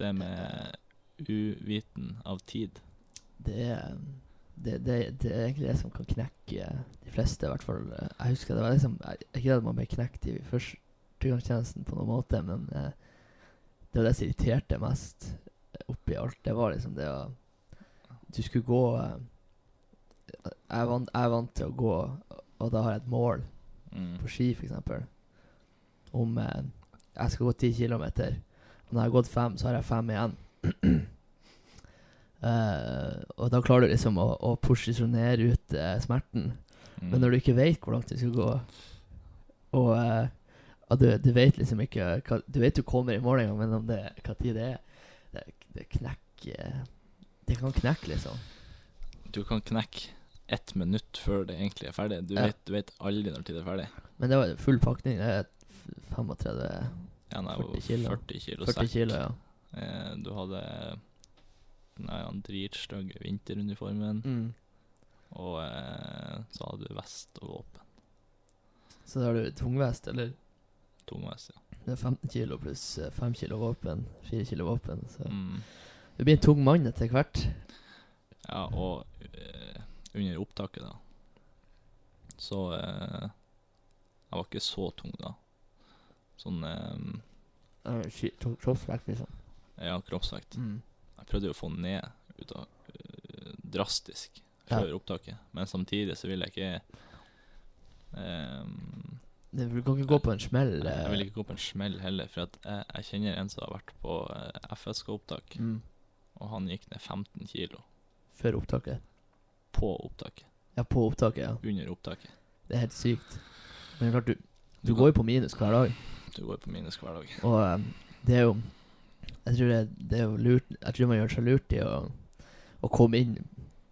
S1: det med uviten av tid.
S2: Det er det, det, det er egentlig det som kan knekke de fleste, i hvert fall. Jeg husker det var liksom jeg- Ikke at man ble knekt i førstegangstjenesten på noen måte, men eh, det var det som irriterte mest eh, oppi alt. Det var liksom det å Du skulle gå eh, Jeg er vant, jeg er vant til å gå, og da har jeg et mål
S1: Mm.
S2: på ski, f.eks. Om eh, jeg skal gå 10 kilometer, og når jeg har gått fem, så har jeg fem igjen. Eh, og da klarer du liksom å, å posisjonere ut eh, smerten.
S1: Mm.
S2: Men når du ikke vet hvor langt du skal gå, og eh, at du, du vet liksom ikke hva, Du vet du kommer i mål engang, men om det, hva tid det er Det, det knekker eh, Det kan knekke, liksom.
S1: Du kan knekke ett minutt før det egentlig er ferdig. Du,
S2: Ja.
S1: vet, du vet aldri når tid det er ferdig.
S2: Men det var full pakning. Det er 35
S1: Ja, nei,
S2: 40
S1: 40
S2: kilo.
S1: kilo. 40 kilo
S2: 40
S1: sekk.
S2: kilo, ja.
S1: Eh, du hadde den her dritstygge vinteruniformen,
S2: Mm.
S1: og eh, så hadde du vest og våpen.
S2: Så da har du tungvest, eller?
S1: Tungvest, ja.
S2: Det er 15 kilo pluss eh, 5 kilo våpen, 4 kilo våpen. Så
S1: Mm.
S2: du blir en tung mann etter hvert.
S1: Ja, og eh, under opptaket, da, så eh, Jeg var ikke så tung da. Sånn eh,
S2: Kroppsvekt, liksom.
S1: Ja, kroppsvekt.
S2: Mm.
S1: Jeg prøvde jo å få den ned ut av, øh, drastisk før opptaket, men samtidig så vil jeg ikke ehm,
S2: Det, du kan ikke gå på en smell.
S1: jeg, jeg
S2: eh,
S1: vil ikke gå på en smell heller, for at jeg, jeg kjenner en som har vært på eh, FSK-opptak,
S2: Mm,
S1: og han gikk ned 15 kilo
S2: før opptaket.
S1: på opptaket,
S2: Ja, på opptaket, ja.
S1: under opptaket.
S2: Det er helt sykt. Men klart, du, du går jo på minus hver dag,
S1: Du går på minus hver dag.
S2: og eh, det er jo Jeg tror det, det er jo lurt Jeg tror man gjør seg lurt i å, å komme inn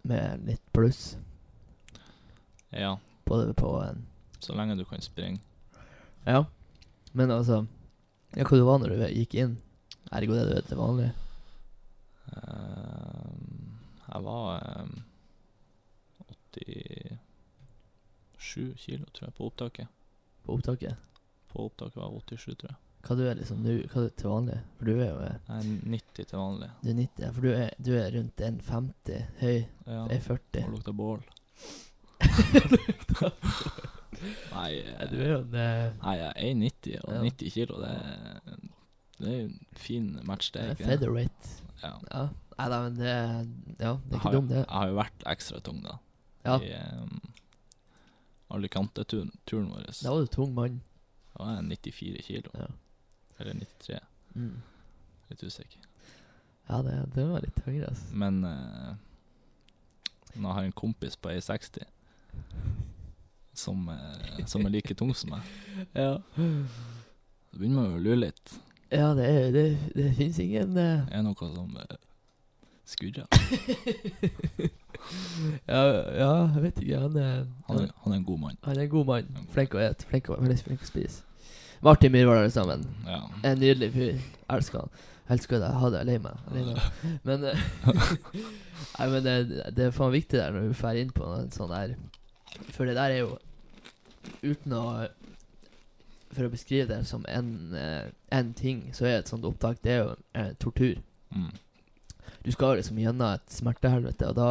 S2: med litt pluss
S1: Ja,
S2: både på en
S1: så lenge du kan springe.
S2: Ja. Men altså Ja, hva du var når du gikk inn? Ergo det du vet til vanlig.
S1: Ehm, jeg var ehm, 87 kilo, tror jeg, på opptaket.
S2: På opptaket.
S1: På opptaket var jeg 87, tror jeg.
S2: Hva du er liksom nå? Hva du er til vanlig? For du er jo eh,
S1: Jeg er 90 til vanlig.
S2: Du er 90, ja, for du er, du er rundt 1,50 høy.
S1: Ja.
S2: Ja. 1,40.
S1: Og lukter bål. nei, eh,
S2: jo en
S1: nei, jeg er 1,90 og
S2: Ja.
S1: 90 kilo. Det er, det er jo en fin match, det. er Ikke? det?
S2: featherweight.
S1: Ja.
S2: Ja. Nei da, men det er- Ja, det er
S1: Jeg
S2: ikke
S1: har,
S2: dumt, det.
S1: jeg har jo vært ekstra tung, da.
S2: Ja.
S1: I um, Alicante-turen turen vår.
S2: Da var du tung mann.
S1: Da var jeg 94 kilo.
S2: Ja.
S1: Eller 93,
S2: Mm.
S1: litt usikker.
S2: Ja, det, det var litt høyere, altså.
S1: Men eh, nå har jeg en kompis på 1,60 som, eh, som er like tung som meg.
S2: Ja.
S1: Så begynner man jo å lure litt.
S2: Ja, det, er- det, det fins ingen eh,
S1: Det er noe som eh, skurrer.
S2: ja, ja, jeg vet ikke. Han eh, er,
S1: Han, er- han er en god mann.
S2: han er en god mann. Flink å ete. Flink å, veldig flink å spise. Martin Myhrvold, alle sammen.
S1: Ja.
S2: En nydelig fyr. Elsker han. Elsker deg. Ha det. Jeg er Lei meg. Jeg er Lei meg. Men eh, Nei, men det, det er faen viktig der når du drar inn på en sånn der For det der er jo Uten å For å beskrive det som en, eh, en ting, så er et sånt opptak Det er jo eh, tortur.
S1: Mm.
S2: Du skal liksom gjennom et smertehelvete, og da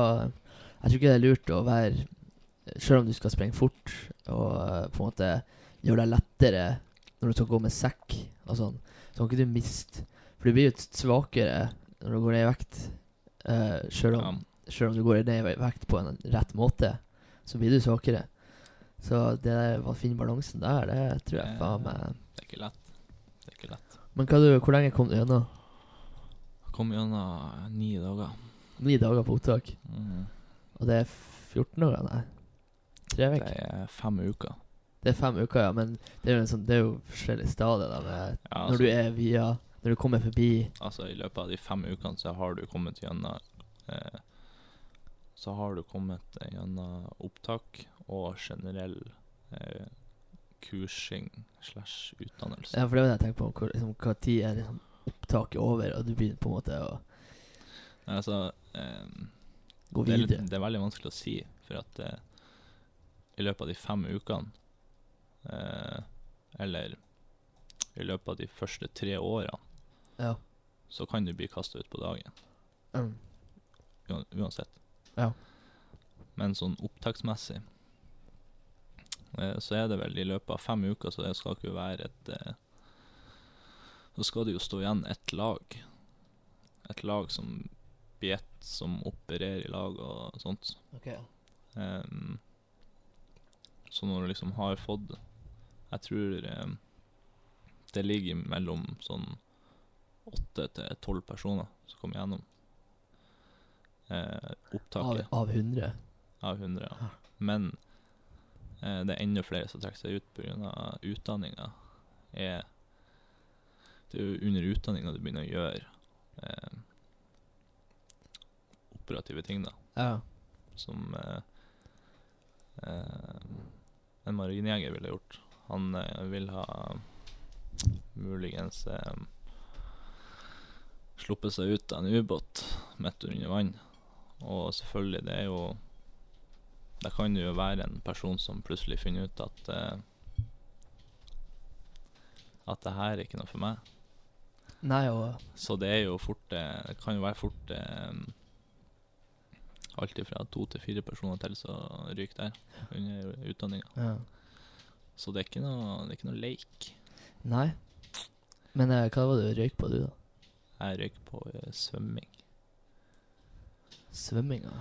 S2: Jeg tror ikke det er lurt å være Selv om du skal sprenge fort og eh, på en måte gjøre deg lettere når du skal gå med sekk og sånn, så kan ikke du miste For du blir jo svakere når du går ned i vekt, eh, selv om
S1: Ja.
S2: Selv om du går ned i vekt på en rett måte, så blir du svakere. Så det der, å finne balansen der, det tror jeg faen meg
S1: Det er ikke lett. Det er ikke lett.
S2: Men hva du, hvor lenge kom du gjennom?
S1: Kom gjennom eh, ni dager.
S2: Ni dager på opptak.
S1: Mm.
S2: Og det er 14 dager, nei? Tre
S1: Det
S2: uker?
S1: er fem uker.
S2: Det er fem uker, ja. Men det er jo, en sånn, det er jo forskjellige stadier. Da, med,
S1: Ja,
S2: når du er via Når du kommer forbi
S1: Altså I løpet av de fem ukene så har du kommet gjennom eh, Så har du kommet gjennom opptak og generell eh, kursing slash utdannelse.
S2: Ja, for det var det jeg tenkte på. Hvor, liksom, hva tid er liksom, opptaket over, og du begynner på en måte å
S1: Nei, altså eh,
S2: gå
S1: det, er,
S2: videre?
S1: litt- det er veldig vanskelig å si, for at eh, i løpet av de fem ukene eh, Eller i løpet av de første tre årene
S2: Ja.
S1: så kan du bli kasta ut på dagen.
S2: Mm.
S1: Uan- uansett.
S2: Ja.
S1: Men sånn opptaksmessig eh, så er det vel i løpet av fem uker, så det skal ikke være et eh, Så skal det jo stå igjen et lag. Et lag som blir ett, som opererer i lag og sånt.
S2: Ok.
S1: Ehm, så når du liksom har fått Jeg tror ehm, det ligger mellom sånn åtte til tolv personer som kommer gjennom eh,
S2: Av,
S1: opptaket
S2: av 100.
S1: av 100. Ja. Men eh, det er enda flere som trekker seg ut pga. utdanninga. Er- Eh, Det er jo under utdanninga du begynner å gjøre eh, operative ting, da
S2: Ja.
S1: som eh, eh, en marinejeger ville gjort. Han eh, vil ha muligens eh, sluppet seg ut av en ubåt midt under vann. Og selvfølgelig, det er jo Det kan jo være en person som plutselig finner ut at eh, at det her er ikke noe for meg.
S2: Nei, og
S1: Så det er jo fort eh, Det kan jo være fort eh, Alt ifra to til fire personer til som ryker der under utdanninga.
S2: ja.
S1: Så det er ikke noe, det er ikke noe leik.
S2: Nei. Men eh, hva var det du røyk på, du, da?
S1: Jeg røyker på eh, svømming.
S2: Svømminga?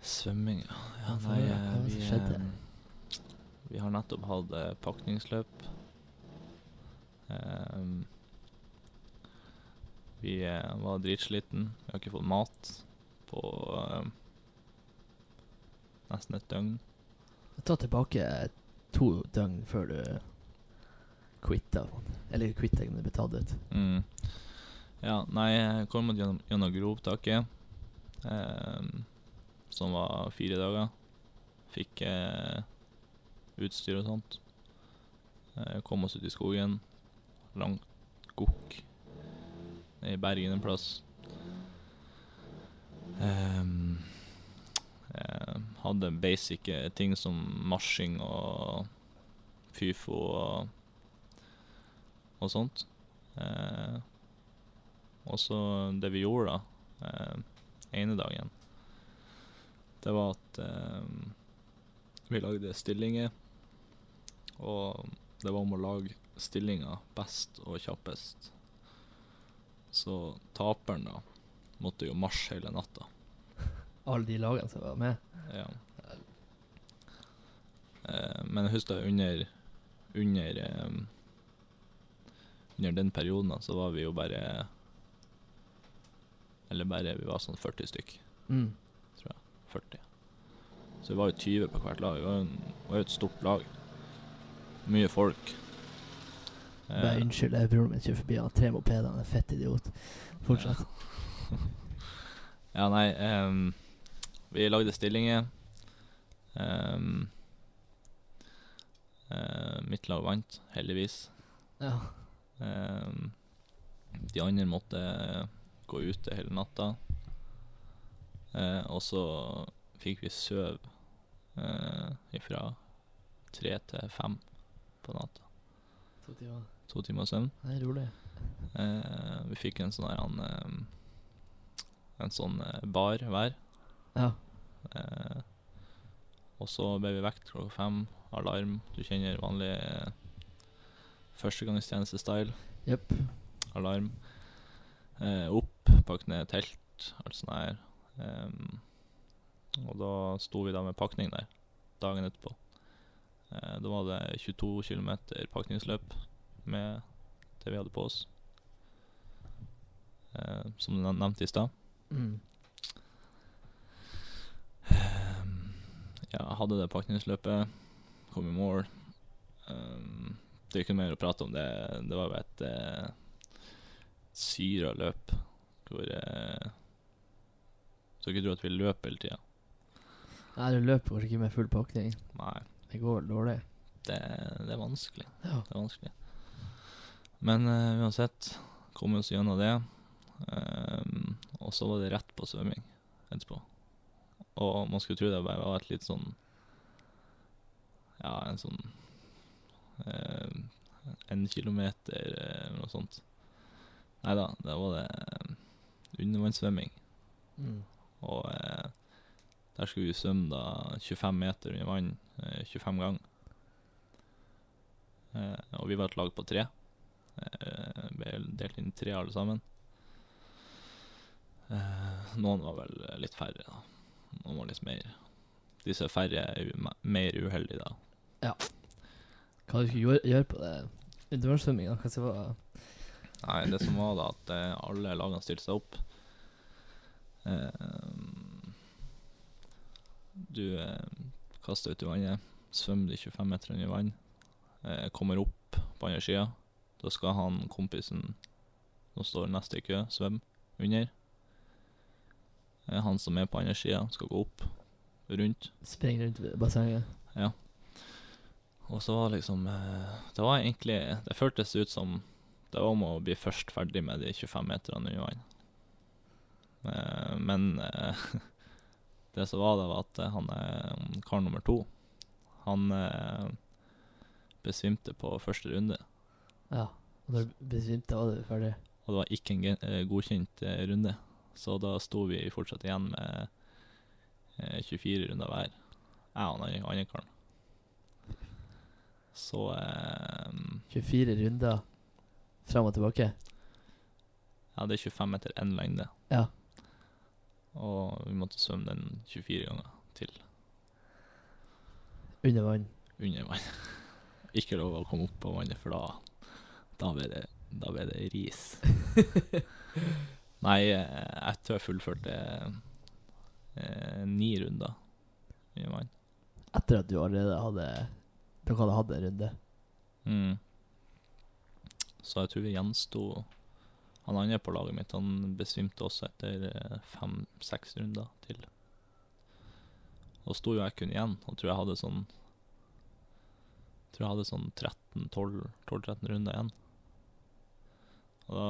S1: Svømming, ja. ja
S2: Ja, for hva-
S1: nei, eh,
S2: hva var det
S1: vi,
S2: som skjedde?
S1: eh, vi har nettopp hatt eh, pakningsløp. Ehm, vi eh, var dritsliten. Vi har ikke fått mat på eh, nesten et døgn.
S2: Ta tilbake to døgn før du quitta. Eller quitta kunne bli tatt ut.
S1: Mm. Ja, nei, jeg kom mot gjennom, gjennom grovtaket, ehm, som var fire dager. Fikk eh, utstyr og sånt. Eh, kom oss ut i skogen. Langt gokk. I Bergen en plass. Ehm, eh, hadde basic eh, ting som marsjing og FIFO og, og sånt. Eh, og så det vi gjorde da, eh, ene dagen, det var at eh, vi lagde stillinger, og det var om å lage stillinger best og kjappest. Så taperen da, måtte jo marsje hele natta.
S2: Alle de lagene som var med.
S1: Ja. Eh, men jeg husker under under, eh, under den perioden da, så var vi jo bare Eller bare vi var sånn 40 stykk.
S2: Mm.
S1: 40. Så vi var jo 20 på hvert lag. Vi var jo en- var jo et stort lag. Mye folk.
S2: Bare
S1: Ja.
S2: unnskyld, det er broren min kjører forbi, han har tre mopeder, han er en fett idiot. Fortsett.
S1: Ja, nei ehm, Vi lagde stillinger. Ehm, eh, mitt lag vant, heldigvis.
S2: Ja.
S1: Ehm, de andre måtte gå ute hele natta. Eh, og så fikk vi sove eh, fra tre til fem på natta.
S2: To timer.
S1: To timer søvn.
S2: Det er rolig.
S1: Eh, vi fikk en sånn her han, ehm, En sånn eh, bar hver.
S2: Ja.
S1: Eh, og så ble vi vekt klokka fem. Alarm. Du kjenner vanlig eh, førstegangstjeneste-style.
S2: Jepp.
S1: Alarm. Eh, opp, pakk ned telt, alt sånt her. Em, og da sto vi da med pakning der dagen etterpå. Eh, da var det 22 km pakningsløp med det vi hadde på oss. Eh, som du nev- nevnte i stad.
S2: Mm.
S1: Ehm, Ja, jeg hadde det pakningsløpet, kom i mål. Ehm, det er ikke noe mer å prate om. Det, det var bare et uh, syra løp hvor eh, Så ikke tro at vi løp hele tida.
S2: Nei, du løper kanskje ikke med full pakning.
S1: Nei,
S2: Det går vel dårlig.
S1: det, det er vanskelig.
S2: Ja.
S1: Det er vanskelig. Men eh, uansett, kom vi oss gjennom det. Ehm, og så var det rett på svømming etterpå. Og man skulle tro det bare var et litt sånn Ja, en sånn ehm, En kilometer eh, eller noe sånt. Nei da, da var det eh, undervannssvømming.
S2: Mm.
S1: Og eh, der skulle vi svømme da 25 meter under vann eh, 25 ganger. Eh, og vi var et lag på tre. Eh, ble delt inn i tre alle sammen. Eh, noen var vel eh, litt færre, da. Noen var litt mer. Disse færre er jo me- mer uheldige, da.
S2: Hva du skulle gjøre, gjøre på det? Undervannssvømminga, hva som var
S1: Nei, det som var da at eh, alle lagene stilte seg opp. Eh, du eh, kaster ut i vannet, svømmer de 25 meter under vann, eh, kommer opp på andre sida. Da skal han kompisen som står neste i kø, svømme under. Eh, han som er på andre sida, skal gå opp, rundt.
S2: Springe rundt i bassenget.
S1: Og så var liksom eh, Det var egentlig Det føltes ut som det var om å bli først ferdig med de 25 meterne under vann. Eh, Men eh, det som var, det var at eh, han eh, kar nummer to Han eh, besvimte på første runde,
S2: Ja. Og når du besvimte, var du ferdig.
S1: og det var ikke en gen- eh, godkjent eh, runde. Så da sto vi fortsatt igjen med eh, 24 runder hver, jeg og den andre karen. Så eh,
S2: 24 runder fram og tilbake.
S1: Ja, det er 25 meter én lengde.
S2: Ja.
S1: Og vi måtte svømme den 24 ganger
S2: Under vann.
S1: under vann. Ikke lov å komme opp på vannet, for da da ble det, da ble det ris. Nei, eh, jeg tror jeg fullførte eh, ni runder under vann.
S2: Etter at du allerede hadde Dere hadde hatt en runde.
S1: Mm. Så jeg tror vi gjensto Han andre på laget mitt han besvimte også etter fem-seks runder til. Og sto jo jeg kun igjen, og tror jeg hadde sånn Tror jeg hadde sånn 13-12-13 runder igjen. Og da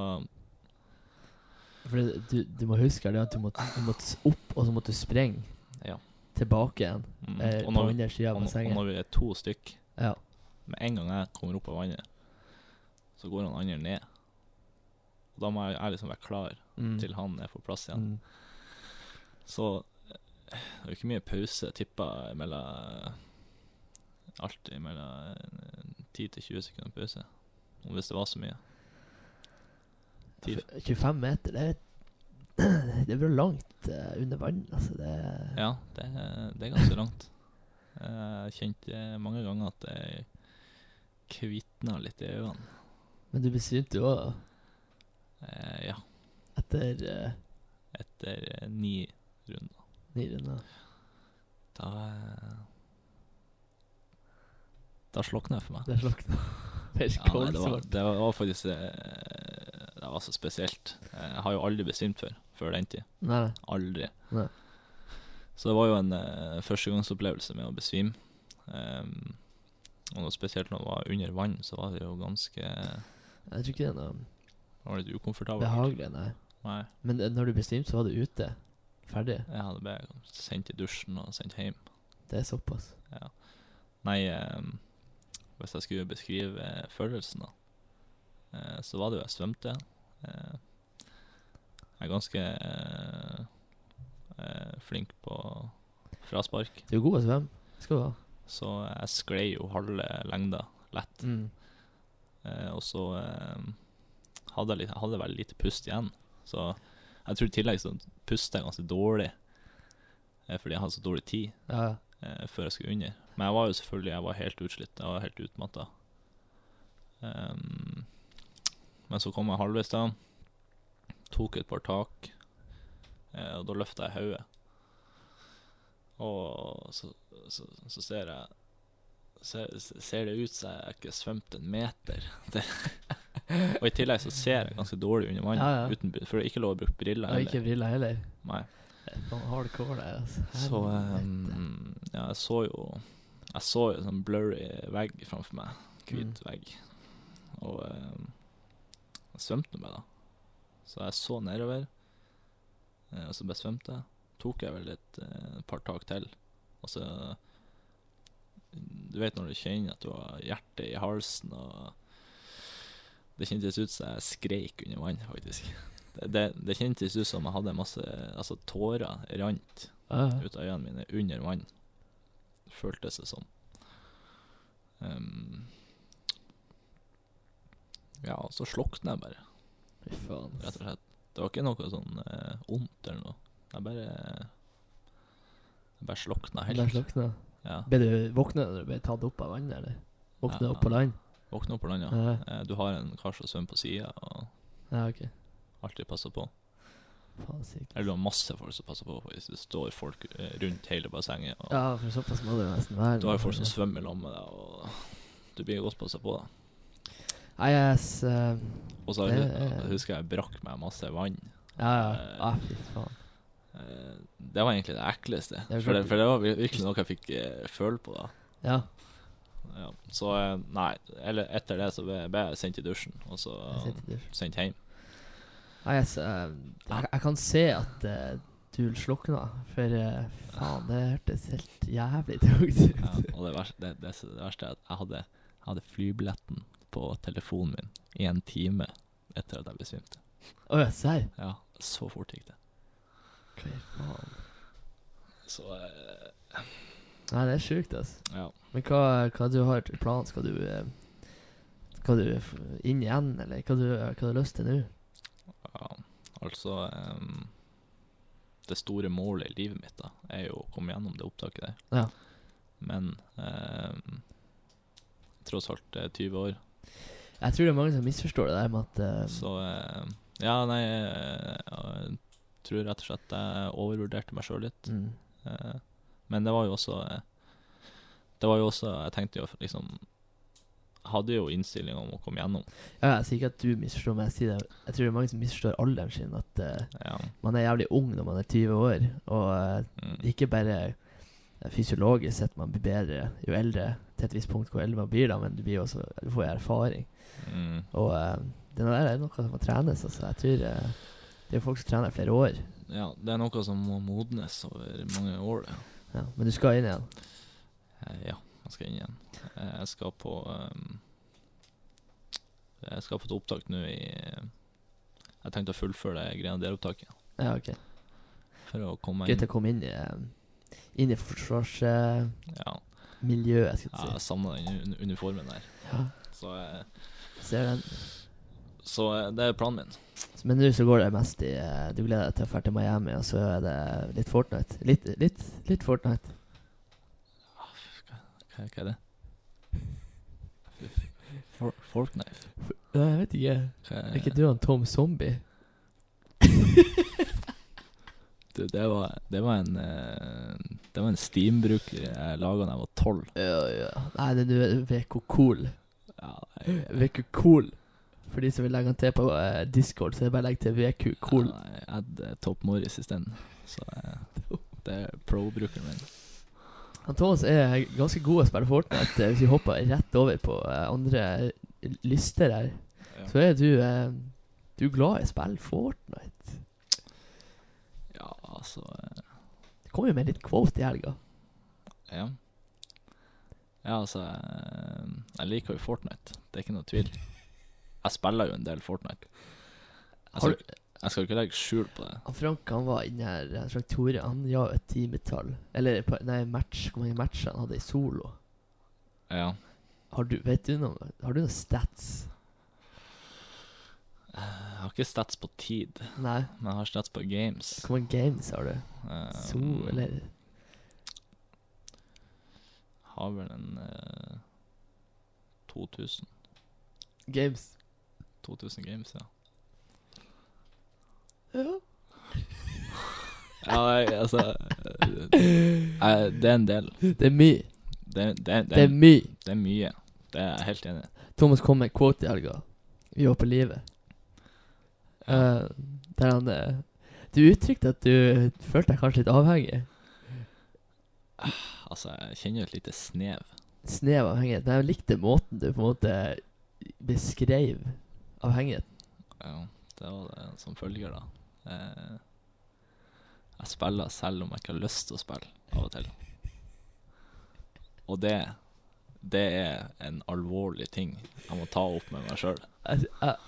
S2: For det, du, du må huske det at du måtte, du måtte s- opp, og så måtte du sprenge
S1: Ja.
S2: tilbake igjen.
S1: mm,
S2: Eh,
S1: og,
S2: på
S1: når,
S2: andre sida
S1: og,
S2: av
S1: når- og
S2: bassenget.
S1: når vi er to stykk
S2: Ja.
S1: Med en gang jeg kommer opp av vannet, så går han andre ned. Og da må jeg, jeg liksom være klar
S2: Mm.
S1: til han er på plass igjen.
S2: Mm.
S1: Så eh, det er jo ikke mye pause, tippa mellom Alltid mellom eh, 10 til 20 sekunder pause. Og hvis det var så mye. Tid.
S2: F- 25 Altså, meter, det er Det blir langt eh, under vann, altså. Det
S1: Ja, det, er- det er ganske langt. Jeg kjente mange ganger at jeg kvitna litt i øynene.
S2: Men du besvimte jo òg
S1: Eh, Ja,
S2: etter eh,
S1: etter eh, ni runder.
S2: ni runder.
S1: Da eh, Da slokna jeg for meg.
S2: Der slokna
S3: Per
S1: Ja, nei, det, var,
S3: Kolsvart.
S1: det var faktisk eh, Det var så spesielt. Jeg har jo aldri bestilt før før den tid.
S2: Nei, nei.
S1: Aldri.
S2: Nei.
S1: Så det var jo en eh, førstegangsopplevelse med å besvime. Ehm, og noe spesielt når det var under vann, så var det jo ganske det
S2: Jeg tror ikke det er noe
S1: var litt ukomfortabelt.
S2: behagelig, nei.
S1: Nei.
S2: Men eh, når du bestemte, så var du ute. Ferdig.
S1: Jeg hadde ble sendt i dusjen og sendt hjem.
S2: Det er såpass.
S1: Ja. Nei, ehm, hvis jeg skulle beskrive eh, følelsen, da, eh, så var det jo jeg svømte. Eh, jeg er ganske eh, eh, flink på fraspark,
S2: Du er god å svømme. Skal du ha.
S1: så jeg sklei jo halve lengda lett.
S2: Mm.
S1: Eh, og så ehm, hadde jeg, litt, jeg hadde veldig lite pust igjen. Så jeg tror i tillegg så puster jeg ganske dårlig, eh, fordi jeg hadde så dårlig tid
S2: Ja, ja.
S1: eh, før jeg skulle under. Men jeg var jo selvfølgelig jeg var helt utslitt jeg var helt utmatta. Ehm, men så kom jeg halvveis, da. Tok et par tak, eh, og da løfta jeg hodet. Og så, så, så ser jeg Ser, ser det ut som jeg har ikke svømt en meter. Det. Og i tillegg så ser jeg ganske dårlig under vann,
S2: Ja, ja.
S1: uten br- for det er ikke lov å bruke briller.
S2: Jeg har ikke briller heller.
S1: heller. Nei.
S2: Sånn hardcore der, altså.
S1: Så
S2: Helvete.
S1: ehm, ja, jeg så jo Jeg så jo en sånn blurry vegg framfor meg. Hvit vegg. Og ehm, jeg svømte med, da. Så jeg så nedover, eh, og så besvømte jeg. Tok jeg vel et eh, par tak til. Og så Du vet når du kjenner at du har hjertet i halsen og Det kjentes ut som jeg skreik under vann, faktisk. Det, det, det kjentes ut som jeg hadde masse Altså, tårer rant
S2: Ja, ja.
S1: ut av øynene mine under vann. sånn. Føltes det som. Ehm, ja, og så slokna jeg bare,
S2: Fy faen. altså.
S1: rett og slett. Det var ikke noe sånn eh, ondt eller noe. Jeg bare Jeg bare slokna
S2: Der
S1: helt.
S2: slokna.
S1: Ja.
S2: Ble du våkna når du ble tatt opp av vannet, eller? Våkna
S1: Ja.
S2: opp på land?
S1: Våkna opp på land, ja.
S2: Ja.
S1: Eh, Du har en kar som svømmer på sida, og
S2: Ja, ok.
S1: alltid passer på.
S2: Faen sykt.
S1: Eller du har masse folk som passer på, hvis det står folk eh, rundt hele bassenget. Og
S2: Ja, for såpass må det jo nesten være.
S1: Du har jo folk som svømmer i lag med deg, og du blir godt passa på, da.
S2: Nei, jeg s- eh,
S1: Og så
S2: Det
S1: hu-
S2: er-
S1: husker jeg jeg brakk meg masse vann.
S2: Ja, ja. Ah, fy faen.
S1: Eh, Det var egentlig det ekleste.
S2: Det er
S1: for, det,
S2: klart.
S1: for det var vir- virkelig noe jeg fikk eh, føle på. da.
S2: Ja.
S1: Ja. Så eh, nei, eller etter det så ble ble jeg sendt i dusjen, og så
S2: Jeg sitter der.
S1: sendt hjem.
S2: Nei, jeg, s- eh, jeg, jeg kan se at eh, du slokna, for eh, faen, det hørtes helt jævlig tungt ut.
S1: Ja, og det verste, det, det, det verste er at jeg hadde, jeg hadde flybilletten på telefonen min i en time etter at jeg besvimte.
S2: Å ja, serr?
S1: Ja, så fort gikk det.
S2: Hva i faen?
S1: Så eh,
S2: Nei, det er sjukt, altså.
S1: ja.
S2: Men hva, hva du har til planen? Skal du eh, Skal du f- inn igjen, eller hva du, hva du har lyst til nå?
S1: ja. Altså eh, Det store målet i livet mitt da er jo å komme gjennom det opptaket der.
S2: Ja.
S1: Men eh, tross alt eh, 20 år,
S2: Jeg tror det er mange som misforstår det der med at eh,
S1: så eh, Ja, nei, eh, jeg tror rett og slett jeg overvurderte meg sjøl litt.
S2: mm,
S1: Eh, men det var jo også eh, Det var jo også Jeg tenkte jo liksom Jeg hadde jo innstilling om å komme gjennom.
S2: ja, Jeg sier ikke at du misforstår, men jeg sier det Jeg tror det er mange som misforstår alderen sin. At eh,
S1: Ja.
S2: man er jævlig ung når man er 20 år, og eh,
S1: Mm.
S2: ikke bare eh, fysiologisk sett man blir bedre jo eldre, til et visst punkt hvor eldre man blir, da, men du blir jo også Du får jo erfaring.
S1: Mm.
S2: Og eh, det der er noe som må trenes, altså. Jeg tror eh, det er jo folk som trener i flere år.
S1: Ja, det er noe som må modnes over mange år. det.
S2: Ja, men du skal inn igjen.
S1: Eh, ja, jeg skal inn igjen. Eh, jeg skal på ehm, Jeg skal på et opptak nå i Jeg tenkte å fullføre det grenaderopptaket
S2: Ja, ok.
S1: for å komme meg
S2: Greit
S1: inn.
S2: å komme inn i, eh, inn i forsvarsmiljøet,
S1: Ja, ja
S2: skal jeg
S1: jeg
S2: si.
S1: savner den un- uniformen der.
S2: Ja,
S1: Så, eh,
S2: ser den.
S1: så eh, det er planen min.
S2: Så- Men nå så går det mest i eh, Du gleder deg til å dra til Miami, og så er det litt Fortnite. Litt, litt, litt Fortnite.
S1: Hva, hva er det? For, forknife?
S2: Nei, jeg vet ikke.
S1: Hva
S2: Er ikke du han Tom Zombie?
S1: Du, det, var, det var en eh, Det var en Steam-bruker jeg laga da jeg var tolv.
S2: Ja, ja. Nei, det er du vet hvor cool.
S1: Ja,
S2: VQ Cool. For de som vil legge den til på eh, Discord, så er det bare å legge til VQ Cool.
S1: Ja, jeg hadde Top Morris isteden, så eh, det er pro-brukeren min.
S2: Han Thomas er ganske god å spille Fortnite. eh, Hvis vi hopper rett over på eh, andre lister her,
S1: Ja.
S2: så er du eh, Du er glad i å spille Fortnite.
S1: Ja, altså eh,
S2: Det kom jo med litt quote i helga.
S1: Ja. Ja, altså eh, Jeg liker jo Fortnite, det er ikke noe tvil. Jeg spiller jo en del Fortnite. Jeg
S2: Har
S1: skal, ikke- jeg skal ikke legge skjul på det.
S2: Han Frank han var inne her, han Frank Tore, han ga jo et timetall. Eller på- nei, match, hvor mange matcher han hadde i solo.
S1: Ja.
S2: Har du, vet du noe, har du noen stats?
S1: Jeg har ikke stats på tid,
S2: Nei.
S1: men jeg har stats på games.
S2: Hvor mange games har du?
S1: Eh,
S2: So, eller
S1: Har vel en eh, 2000.
S2: Games.
S1: 2000 games, ja.
S2: Ja.
S1: Ja, nei, altså eh, eh, Det er en del.
S2: Det er mye.
S1: Det, det,
S2: Det
S1: det,
S2: er mye.
S1: det er mye. Det er jeg helt enig i.
S2: Thomas kom med en quote i helga. Vi var på livet. Eh, der han eh, Du uttrykte at du følte deg kanskje litt avhengig.
S1: Altså, jeg kjenner jo et lite snev.
S2: Snev av avhengighet. Men jeg likte måten du på en måte beskrev avhengigheten.
S1: Ja, det var det som følger, da. Eh, jeg spiller selv om jeg ikke har lyst til å spille, av og til. Og det det er en alvorlig ting jeg må ta opp med meg sjøl.
S2: Jeg- Altså, jeg-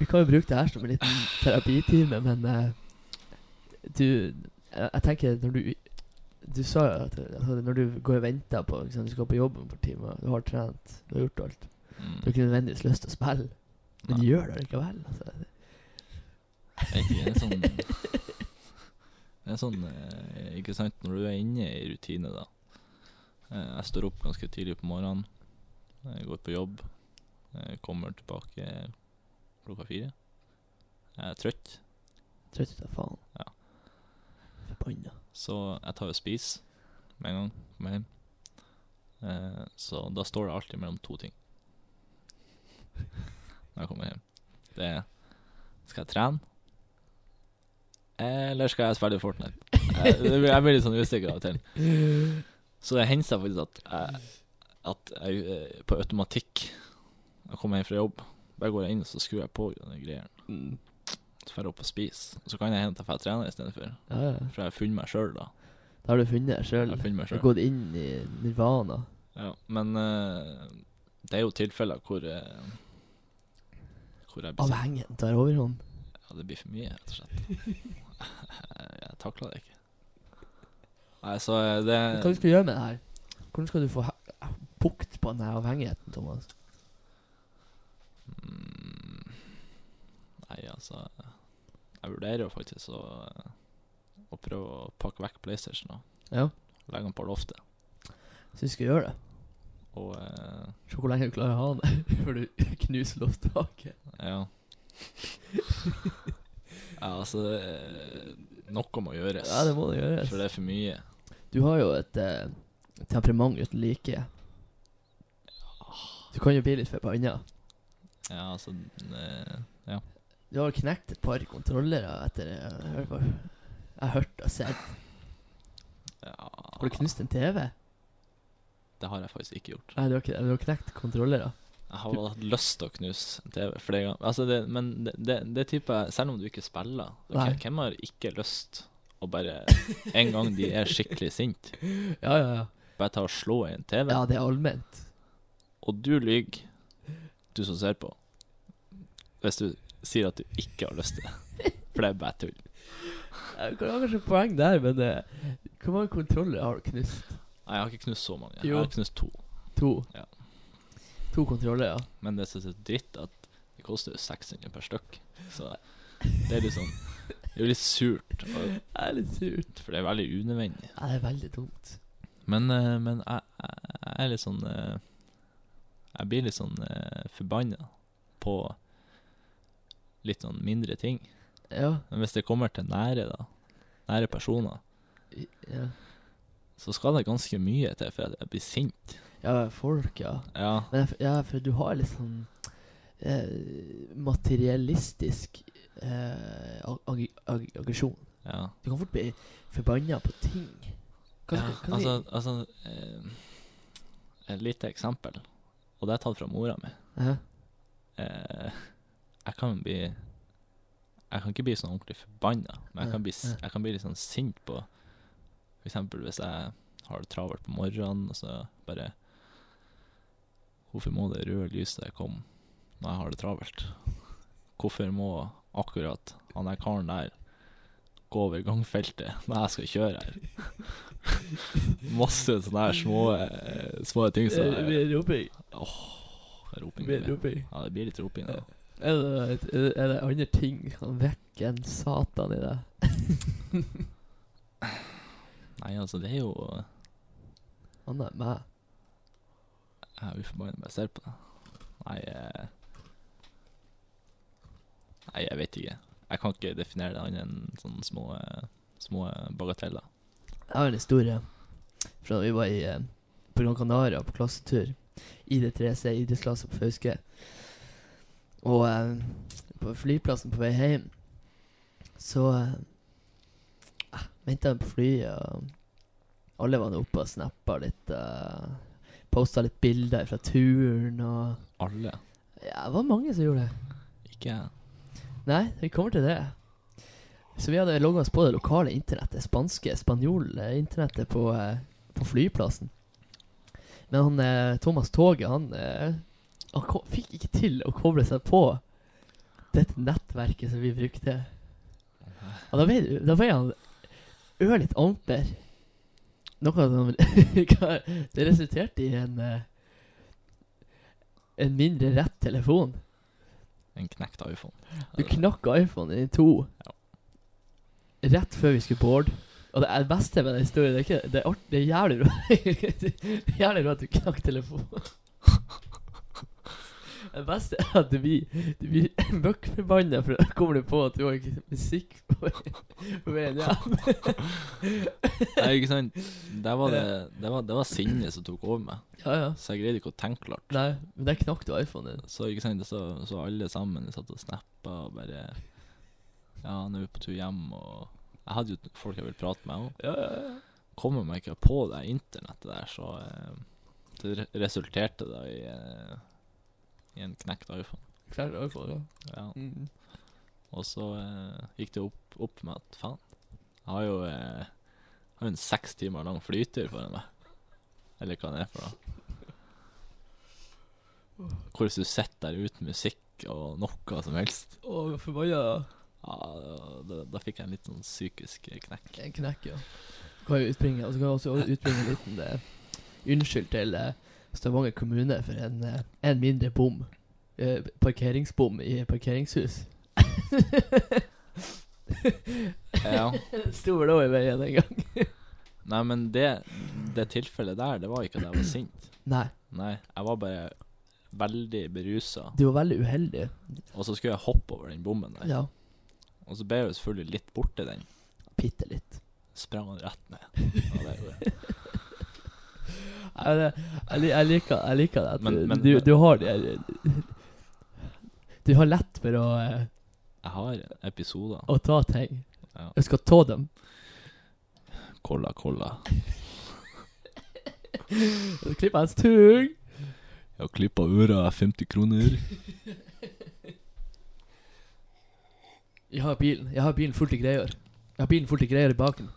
S2: Vi kan jo bruke det her som en liten terapitime, men eh, du Jeg, jeg tenker når du Du sa jo at altså, når du går og venter på ikke sant, Du skal på jobb om et par timer, du har trent, du har gjort alt Du har
S1: Mm.
S2: ikke nødvendigvis lyst til å spille, men
S1: Nei.
S2: du gjør det likevel. Altså.
S1: Jeg vet ikke, det er sånn Det er sånn, eh, ikke sant, når du er inne i rutine, da. Eh, Jeg står opp ganske tidlig på morgenen, jeg går på jobb, jeg kommer tilbake klokka fire. Jeg er trøtt,
S2: Trøtt ut av faen.
S1: Ja.
S2: Forbanna.
S1: så jeg tar og spiser med en gang jeg kommer hjem. Eh, Så da står det alltid mellom to ting når jeg kommer hjem. Det er Skal jeg trene? Eh, Eller skal jeg spille Fortnite? Eh, det blir- Jeg blir litt sånn usikker av og til. Så det hender seg faktisk at jeg, at jeg eh, på automatikk Jeg kommer hjem fra jobb, bare går jeg inn og så skrur jeg på den greia. Så drar jeg opp og spiser. Så kan jeg hente at jeg trener istedenfor.
S2: Ja, ja.
S1: For jeg har funnet meg sjøl, da.
S2: Da har du funnet deg
S1: Jeg
S2: sjøl.
S1: har funnet meg
S2: Du har
S1: selv.
S2: gått inn i nirvana.
S1: Ja, men eh, det er jo tilfeller hvor eh, Hvor jeg blir
S2: Avhengigheten tar overhånd.
S1: Ja, det blir for mye, rett og slett. Jeg, jeg takler det ikke. Nei, så eh, det
S2: Men Hva du skal gjøre med det her? Hvordan skal du få he- bukt på denne avhengigheten, Thomas?
S1: Mm, Nei, altså Jeg vurderer jo faktisk å, eh, å prøve å pakke vekk PlayStation og
S2: Ja.
S1: legge den på loftet.
S2: Så du skal gjøre det?
S1: Og eh,
S2: Se hvor lenge du klarer å ha den før du knuser lofttaket.
S1: ja. ja, altså eh, Noe må gjøres.
S2: Ja, det må det
S1: For det
S2: gjøres.
S1: er for mye.
S2: Du har jo et eh, temperament uten like. Du kan jo bli litt forbanna.
S1: Ja, altså eh,
S2: Du har knekt et par kontrollere etter eh, hør på- Jeg har hørt og sett.
S1: Ja,
S2: Har du knust en TV?
S1: det har jeg faktisk ikke gjort.
S2: Nei, du har ikke det. men Du har knekt kontrollere.
S1: Jeg har hatt lyst til å knuse en TV flere ganger. Altså det, men det, det, det typer jeg- Selv om du ikke spiller det er
S2: Nei.
S1: ikke- Hvem har ikke lyst å bare En gang de er skikkelig sint
S2: Ja, ja, ja.
S1: bare ta og slå i en TV?
S2: Ja, det er allment.
S1: Og du lyver, du som ser på, hvis du sier at du ikke har lyst til det. For det er bare tull.
S2: Jeg kan ha kanskje poeng der, men eh, hvor mange kontroller har du knust?
S1: Nei, jeg har ikke knust så mange. Jeg
S2: Jo.
S1: har knust to.
S2: To.
S1: Ja.
S2: To kontroller, ja.
S1: Men det synes jeg er dritt at det koster jo 600 per stykk. Så det er liksom Det er jo litt surt, og-
S2: Det er litt surt.
S1: for det er veldig unødvendig.
S2: Ja, det er veldig dumt.
S1: Men, eh, men jeg, jeg jeg er litt sånn eh, Jeg blir litt sånn eh, forbanna på litt sånn mindre ting.
S2: Ja.
S1: Men hvis det kommer til nære, da, nære personer,
S2: i- Ja,
S1: så skal det ganske mye til for at jeg blir sint.
S2: ja folk, ja.
S1: Ja,
S2: Men jeg, f- ja, for du har litt sånn eh, materiellistisk eh, ag- ag- ag- aggresjon.
S1: Ja.
S2: Du kan fort bli forbanna på ting. Hva,
S1: ja,
S2: hva- hva-
S1: altså, altså eh, Et lite eksempel, og det er tatt fra mora mi.
S2: Hæ?
S1: Eh, jeg kan bli Jeg kan ikke bli sånn ordentlig forbanna, men jeg kan bli, s-
S2: Ja, ja.
S1: jeg kan bli litt sånn sint på For eksempel hvis jeg har det travelt på morgenen, og så bare Hvorfor må det røde lyset komme når jeg har det travelt? Hvorfor må akkurat han der karen der gå over gangfeltet når jeg skal kjøre her? Masse sånne her små, eh, små ting som
S2: Eh, mer roping.
S1: roping.
S2: Mer
S1: blir.
S2: roping.
S1: Ja, det blir litt roping. da.
S2: Er det, er det- er det andre ting som vekker en satan i deg?
S1: Nei, altså, det er jo
S2: Annet enn meg.
S1: Jeg er uforbanna når jeg ser på det. Nei eh, Nei, jeg vet ikke. Jeg kan ikke definere det annet enn sånne små, eh, små bagateller.
S2: Jeg har en historie fra da vi var i, eh, på Gran Canaria på klassetur. ID3C idrettsklasse på Fauske. Og eh, på flyplassen på vei hjem så eh, ah, venta jeg på flyet, og alle var nå oppe og snappa litt. Eh, Posta litt bilder fra turen og
S1: Alle.
S2: Ja, det var mange som gjorde det.
S1: Ikke jeg.
S2: Nei, vi kommer til det. Så vi hadde logga oss på det lokale internettet, spanske, spanjol-internettet på, eh, på flyplassen. Men han, eh, Thomas Toget, han, eh, han ko- fikk ikke til å koble seg på dette nettverket som vi brukte. Og da ble, da ble han ørlite amper. Noe som Det resulterte i en eh, en mindre rett telefon.
S1: En knekt iPhone.
S2: Du knakk iPhone i to Rett før vi skulle board Og det er det beste med den historien Det er, ikke, det er, art, det er jævlig bra Det er jævlig bra at du knakk telefonen Det beste er at du blir Du blir møkkforbannet For da kommer du på at du har ikke musikk På, på veien hjem
S1: Nei, ikke sant. Det var, det, det var, det var sinnet som tok over meg.
S2: Ja, ja
S1: Så jeg greide ikke å tenke klart.
S2: Nei, men der knakk du iPhone din
S1: Så ikke sant, så, så alle sammen satt og snappa og bare Ja, nå er vi på tur hjem, og Jeg hadde jo folk jeg ville prate med òg.
S2: Ja, ja, ja
S1: Kommer meg ikke på det internettet der, så eh, det re- resulterte da i, eh, i en knekt iPhone.
S2: Klart iPhone, ja
S1: Ja.
S2: mm.
S1: Og så eh, gikk det opp, opp for meg at faen, jeg har jo eh, jeg har jo en seks timer lang flytur foran meg. Eller hva det er for noe. Hvor hvis du sitter der uten musikk og noe som helst,
S2: Åh, forbannet ja
S1: ja, da, da fikk jeg en litt sånn psykisk knekk.
S2: En knekk, ja. Kan jo utbringe, og så kan jeg også utbringe en liten eh, unnskyld til eh, Stavanger kommune for en, eh, en mindre bom. Eh, parkeringsbom i parkeringshus.
S1: Ja.
S2: Sto vel òg i veien en gang.
S1: Nei, men det, det tilfellet der, det var ikke at jeg var sint.
S2: Nei,
S1: Nei, jeg var bare veldig berusa.
S2: du var veldig uheldig.
S1: Og så skulle jeg hoppe over den bommen der.
S2: Ja,
S1: Og så ble jeg jo selvfølgelig litt borte den.
S2: bitte litt.
S1: Sprang han rett ned. Ja, det gjorde
S2: Nei, men,
S1: jeg.
S2: eh, Jeg, li- jeg, liker, jeg liker det. At
S1: Men-
S2: du-
S1: men-
S2: du, du har det Du har lett for å, eh,
S1: Jeg har episoder.
S2: å ta ting.
S1: Ja.
S2: Jeg skal ta dem.
S1: Kolla, kolla.
S2: Klipp hans tung.
S1: Jeg har klippa øra 50 kroner.
S2: Jeg har bilen Jeg har bilen fullt i greier. Jeg har bilen fullt i greier i baken.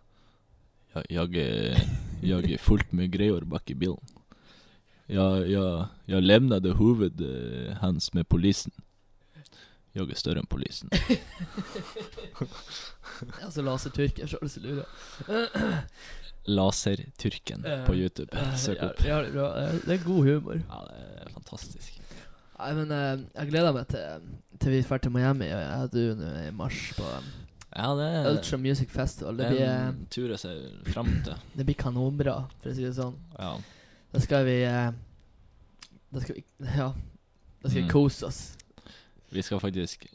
S1: Jeg, jeg, er- jeg er fullt med greier bak i bilen. Jeg, jeg, jeg levnade hovedet eh, hans med polisen. Jeg er større enn polisen.
S2: Altså lasertyrker, så er det så lurer.
S1: Lasertyrken på YouTube. Søk
S2: Eh, Ja,
S1: opp.
S2: ja, det er bra. Eh, Det er god humor.
S1: Ja, det er fantastisk.
S2: Nei, men eh, jeg gleder meg til, til vi drar til Miami. og Jeg hadde jo nå i mars på um,
S1: Ja, det er
S2: Ultra Music Festival. Det
S1: en
S2: blir, eh,
S1: tur jeg ser fram til.
S2: det blir kanonbra, for å si det sånn.
S1: Ja.
S2: Da skal vi eh, Da skal vi Ja. Da skal vi
S1: Mm.
S2: kose oss.
S1: Vi skal faktisk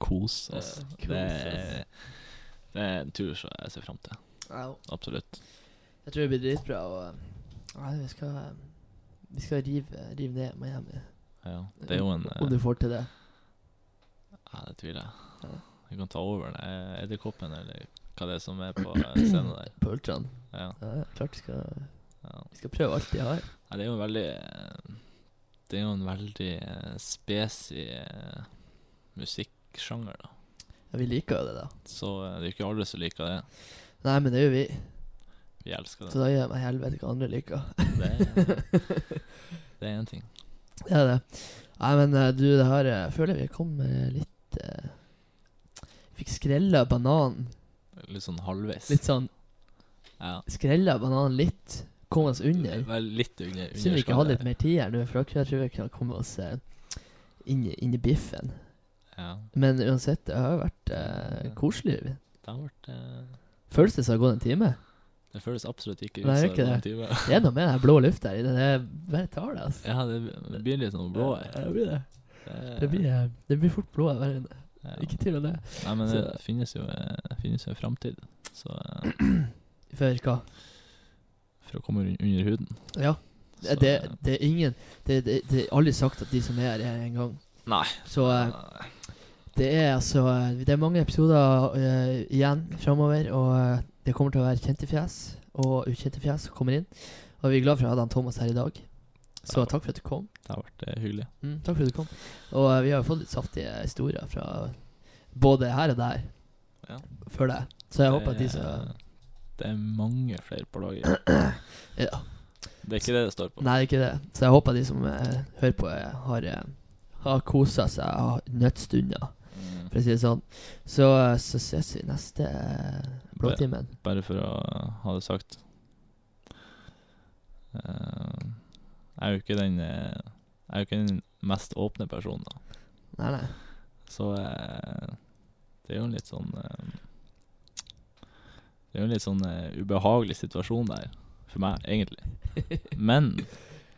S1: kose oss.
S2: Ja, Eh, kose
S1: det, er, det er en tur som jeg ser fram til.
S2: Au.
S1: Absolutt.
S2: Jeg tror det blir dritbra. Og eh, nei, vi skal eh, Vi skal rive, rive eh, ned Miami.
S1: Ja, det er jo en
S2: Om du
S1: eh,
S2: får til det.
S1: Ja, det tviler jeg.
S2: Ja.
S1: Jeg kan ta over den eh, edderkoppen, eller hva det er som er på eh, scenen der.
S2: På ultraen.
S1: Ja,
S2: Ja, ja, klart vi skal,
S1: ja.
S2: vi skal prøve alt vi har.
S1: Nei, det er jo en veldig eh, Det er jo en veldig eh, spesig eh, musikksjanger, da.
S2: Ja, vi liker jo det, da.
S1: Så eh, det er jo ikke alle som liker det.
S2: Nei, men det gjør vi.
S1: Vi elsker
S2: Så
S1: det.
S2: da gir jeg meg helvete hva andre liker.
S1: Det er- det er én ting.
S2: Det er det. Nei, men eh, du, det her eh, føler jeg vi kommer eh, litt eh, Fikk skrella bananen.
S1: Litt sånn halvveis.
S2: Litt sånn
S1: Ja.
S2: Skrella bananen litt. Kom oss under.
S1: Vel, litt under. under
S2: Synd vi ikke hadde
S1: skallet.
S2: litt mer tid her nå, for da tror jeg vi kan komme oss eh, inn, i- inn i biffen.
S1: Ja.
S2: Men uansett, det har jo vært eh, koselig.
S1: Det har vært eh,
S2: Føles det som det har gått en time?
S1: Det føles absolutt ikke ut
S2: Nei,
S1: som
S2: det er
S1: en
S2: ikke
S1: time.
S2: Det er noe med den blå lufta her inne. Det er bare tar det, altså.
S1: Ja, det blir litt sånn blå her.
S2: Ja, det blir det.
S1: Det-
S2: Det blir, eh, det blir fort blå her inne.
S1: ja.
S2: Ikke tvil om det.
S1: Nei, men
S2: Så-
S1: det finnes jo, eh, det finnes jo en framtid. Så eh,
S2: For hva?
S1: for å komme un- under huden.
S2: Ja.
S1: Så,
S2: det,
S1: eh,
S2: det er ingen Det, det, det er aldri sagt at de som er her, er her en gang.
S1: Nei.
S2: Så eh, det er altså eh, Det er mange episoder eh, igjen framover, og eh, det kommer til å være kjente fjes og ukjente fjes som kommer inn. Og vi er glad for å ha han Thomas her i dag. Så
S1: Ja.
S2: takk for at du kom.
S1: Det har vært eh, hyggelig.
S2: Mm, takk for at du kom. Og eh, vi har jo fått litt saftige historier fra både her og der
S1: Ja.
S2: før deg. Så jeg
S1: Det
S2: håper at de
S1: er-
S2: som
S1: Det er mange flere på laget.
S2: ja.
S1: Det er ikke det det står på.
S2: Nei, ikke det. Så jeg håper at de som eh, hører på, eh, har, eh, har kosa seg og har nøtt stunder,
S1: Mm.
S2: for å si det sånn. Så, eh, så ses vi neste eh, blåtimen.
S1: Bare for å ha det sagt. Eh, jeg er jo ikke den eh, Jeg er jo ikke den mest åpne personen, da.
S2: Nei, nei.
S1: Så eh, det er jo en litt sånn eh, Det er jo en litt sånn eh, ubehagelig situasjon der, for meg, egentlig. Men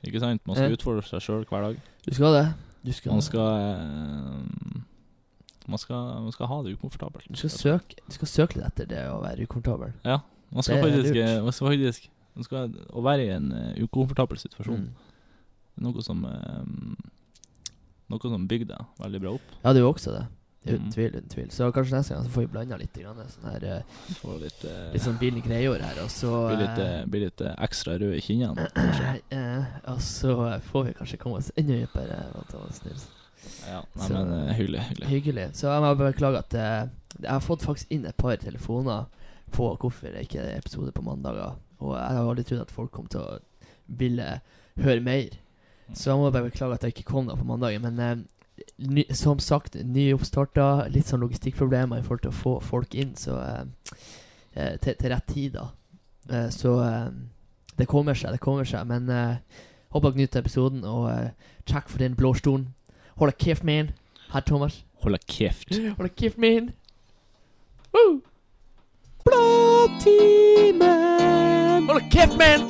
S1: ikke sant, man
S2: Eh.
S1: skal utfordre seg sjøl hver dag.
S2: Du skal det. Du skal,
S1: Man skal, eh, man skal Man skal ha det ukomfortabelt.
S2: du skal, søke, du skal søke litt etter det å være ukomfortabel.
S1: Man skal
S2: det er
S1: faktisk,
S2: lurt.
S1: eh, man skal faktisk man skal, Å være i en eh, ukomfortabel situasjon
S2: Mm.
S1: Det er noe som eh, Noe som bygger deg veldig bra opp.
S2: Ja, det er jo også det. Det er Uten
S1: Mm.
S2: tvil, uten tvil. Så kanskje neste gang så får vi blanda litt grann, sånn her, eh,
S1: Får litt, eh,
S2: litt sånn billig greier her, og så
S1: blir litt,
S2: eh,
S1: eh, blir litt eh, ekstra rød i kinnene.
S2: Eh, og så får vi kanskje komme oss enda dypere. eh, hva tar oss til.
S1: Ja, nei,
S2: Så-
S1: men eh, hyggelig. hyggelig.
S2: Hyggelig. Så jeg må bare beklage at eh, jeg har fått faktisk inn et par telefoner på hvorfor det ikke er episode på mandager. Og jeg har aldri trodd at folk kom til å ville høre mer. Så jeg må bare beklage at jeg ikke kom da på mandagen. Men eh, ny, som sagt, nyoppstarta, litt sånn logistikkproblemer i forhold til å få folk inn så, eh, eh, til, til rett tid. da. Eh, så eh, det kommer seg, det kommer seg. Men eh, håper dere nyter episoden, og eh, takk for den blå stolen. Hold deg kjeft, min. Herr Thomas.
S1: Holde kjeft.
S2: Hold deg kjeft, min.
S1: Blåtimen!
S2: Hold deg kjeft, min.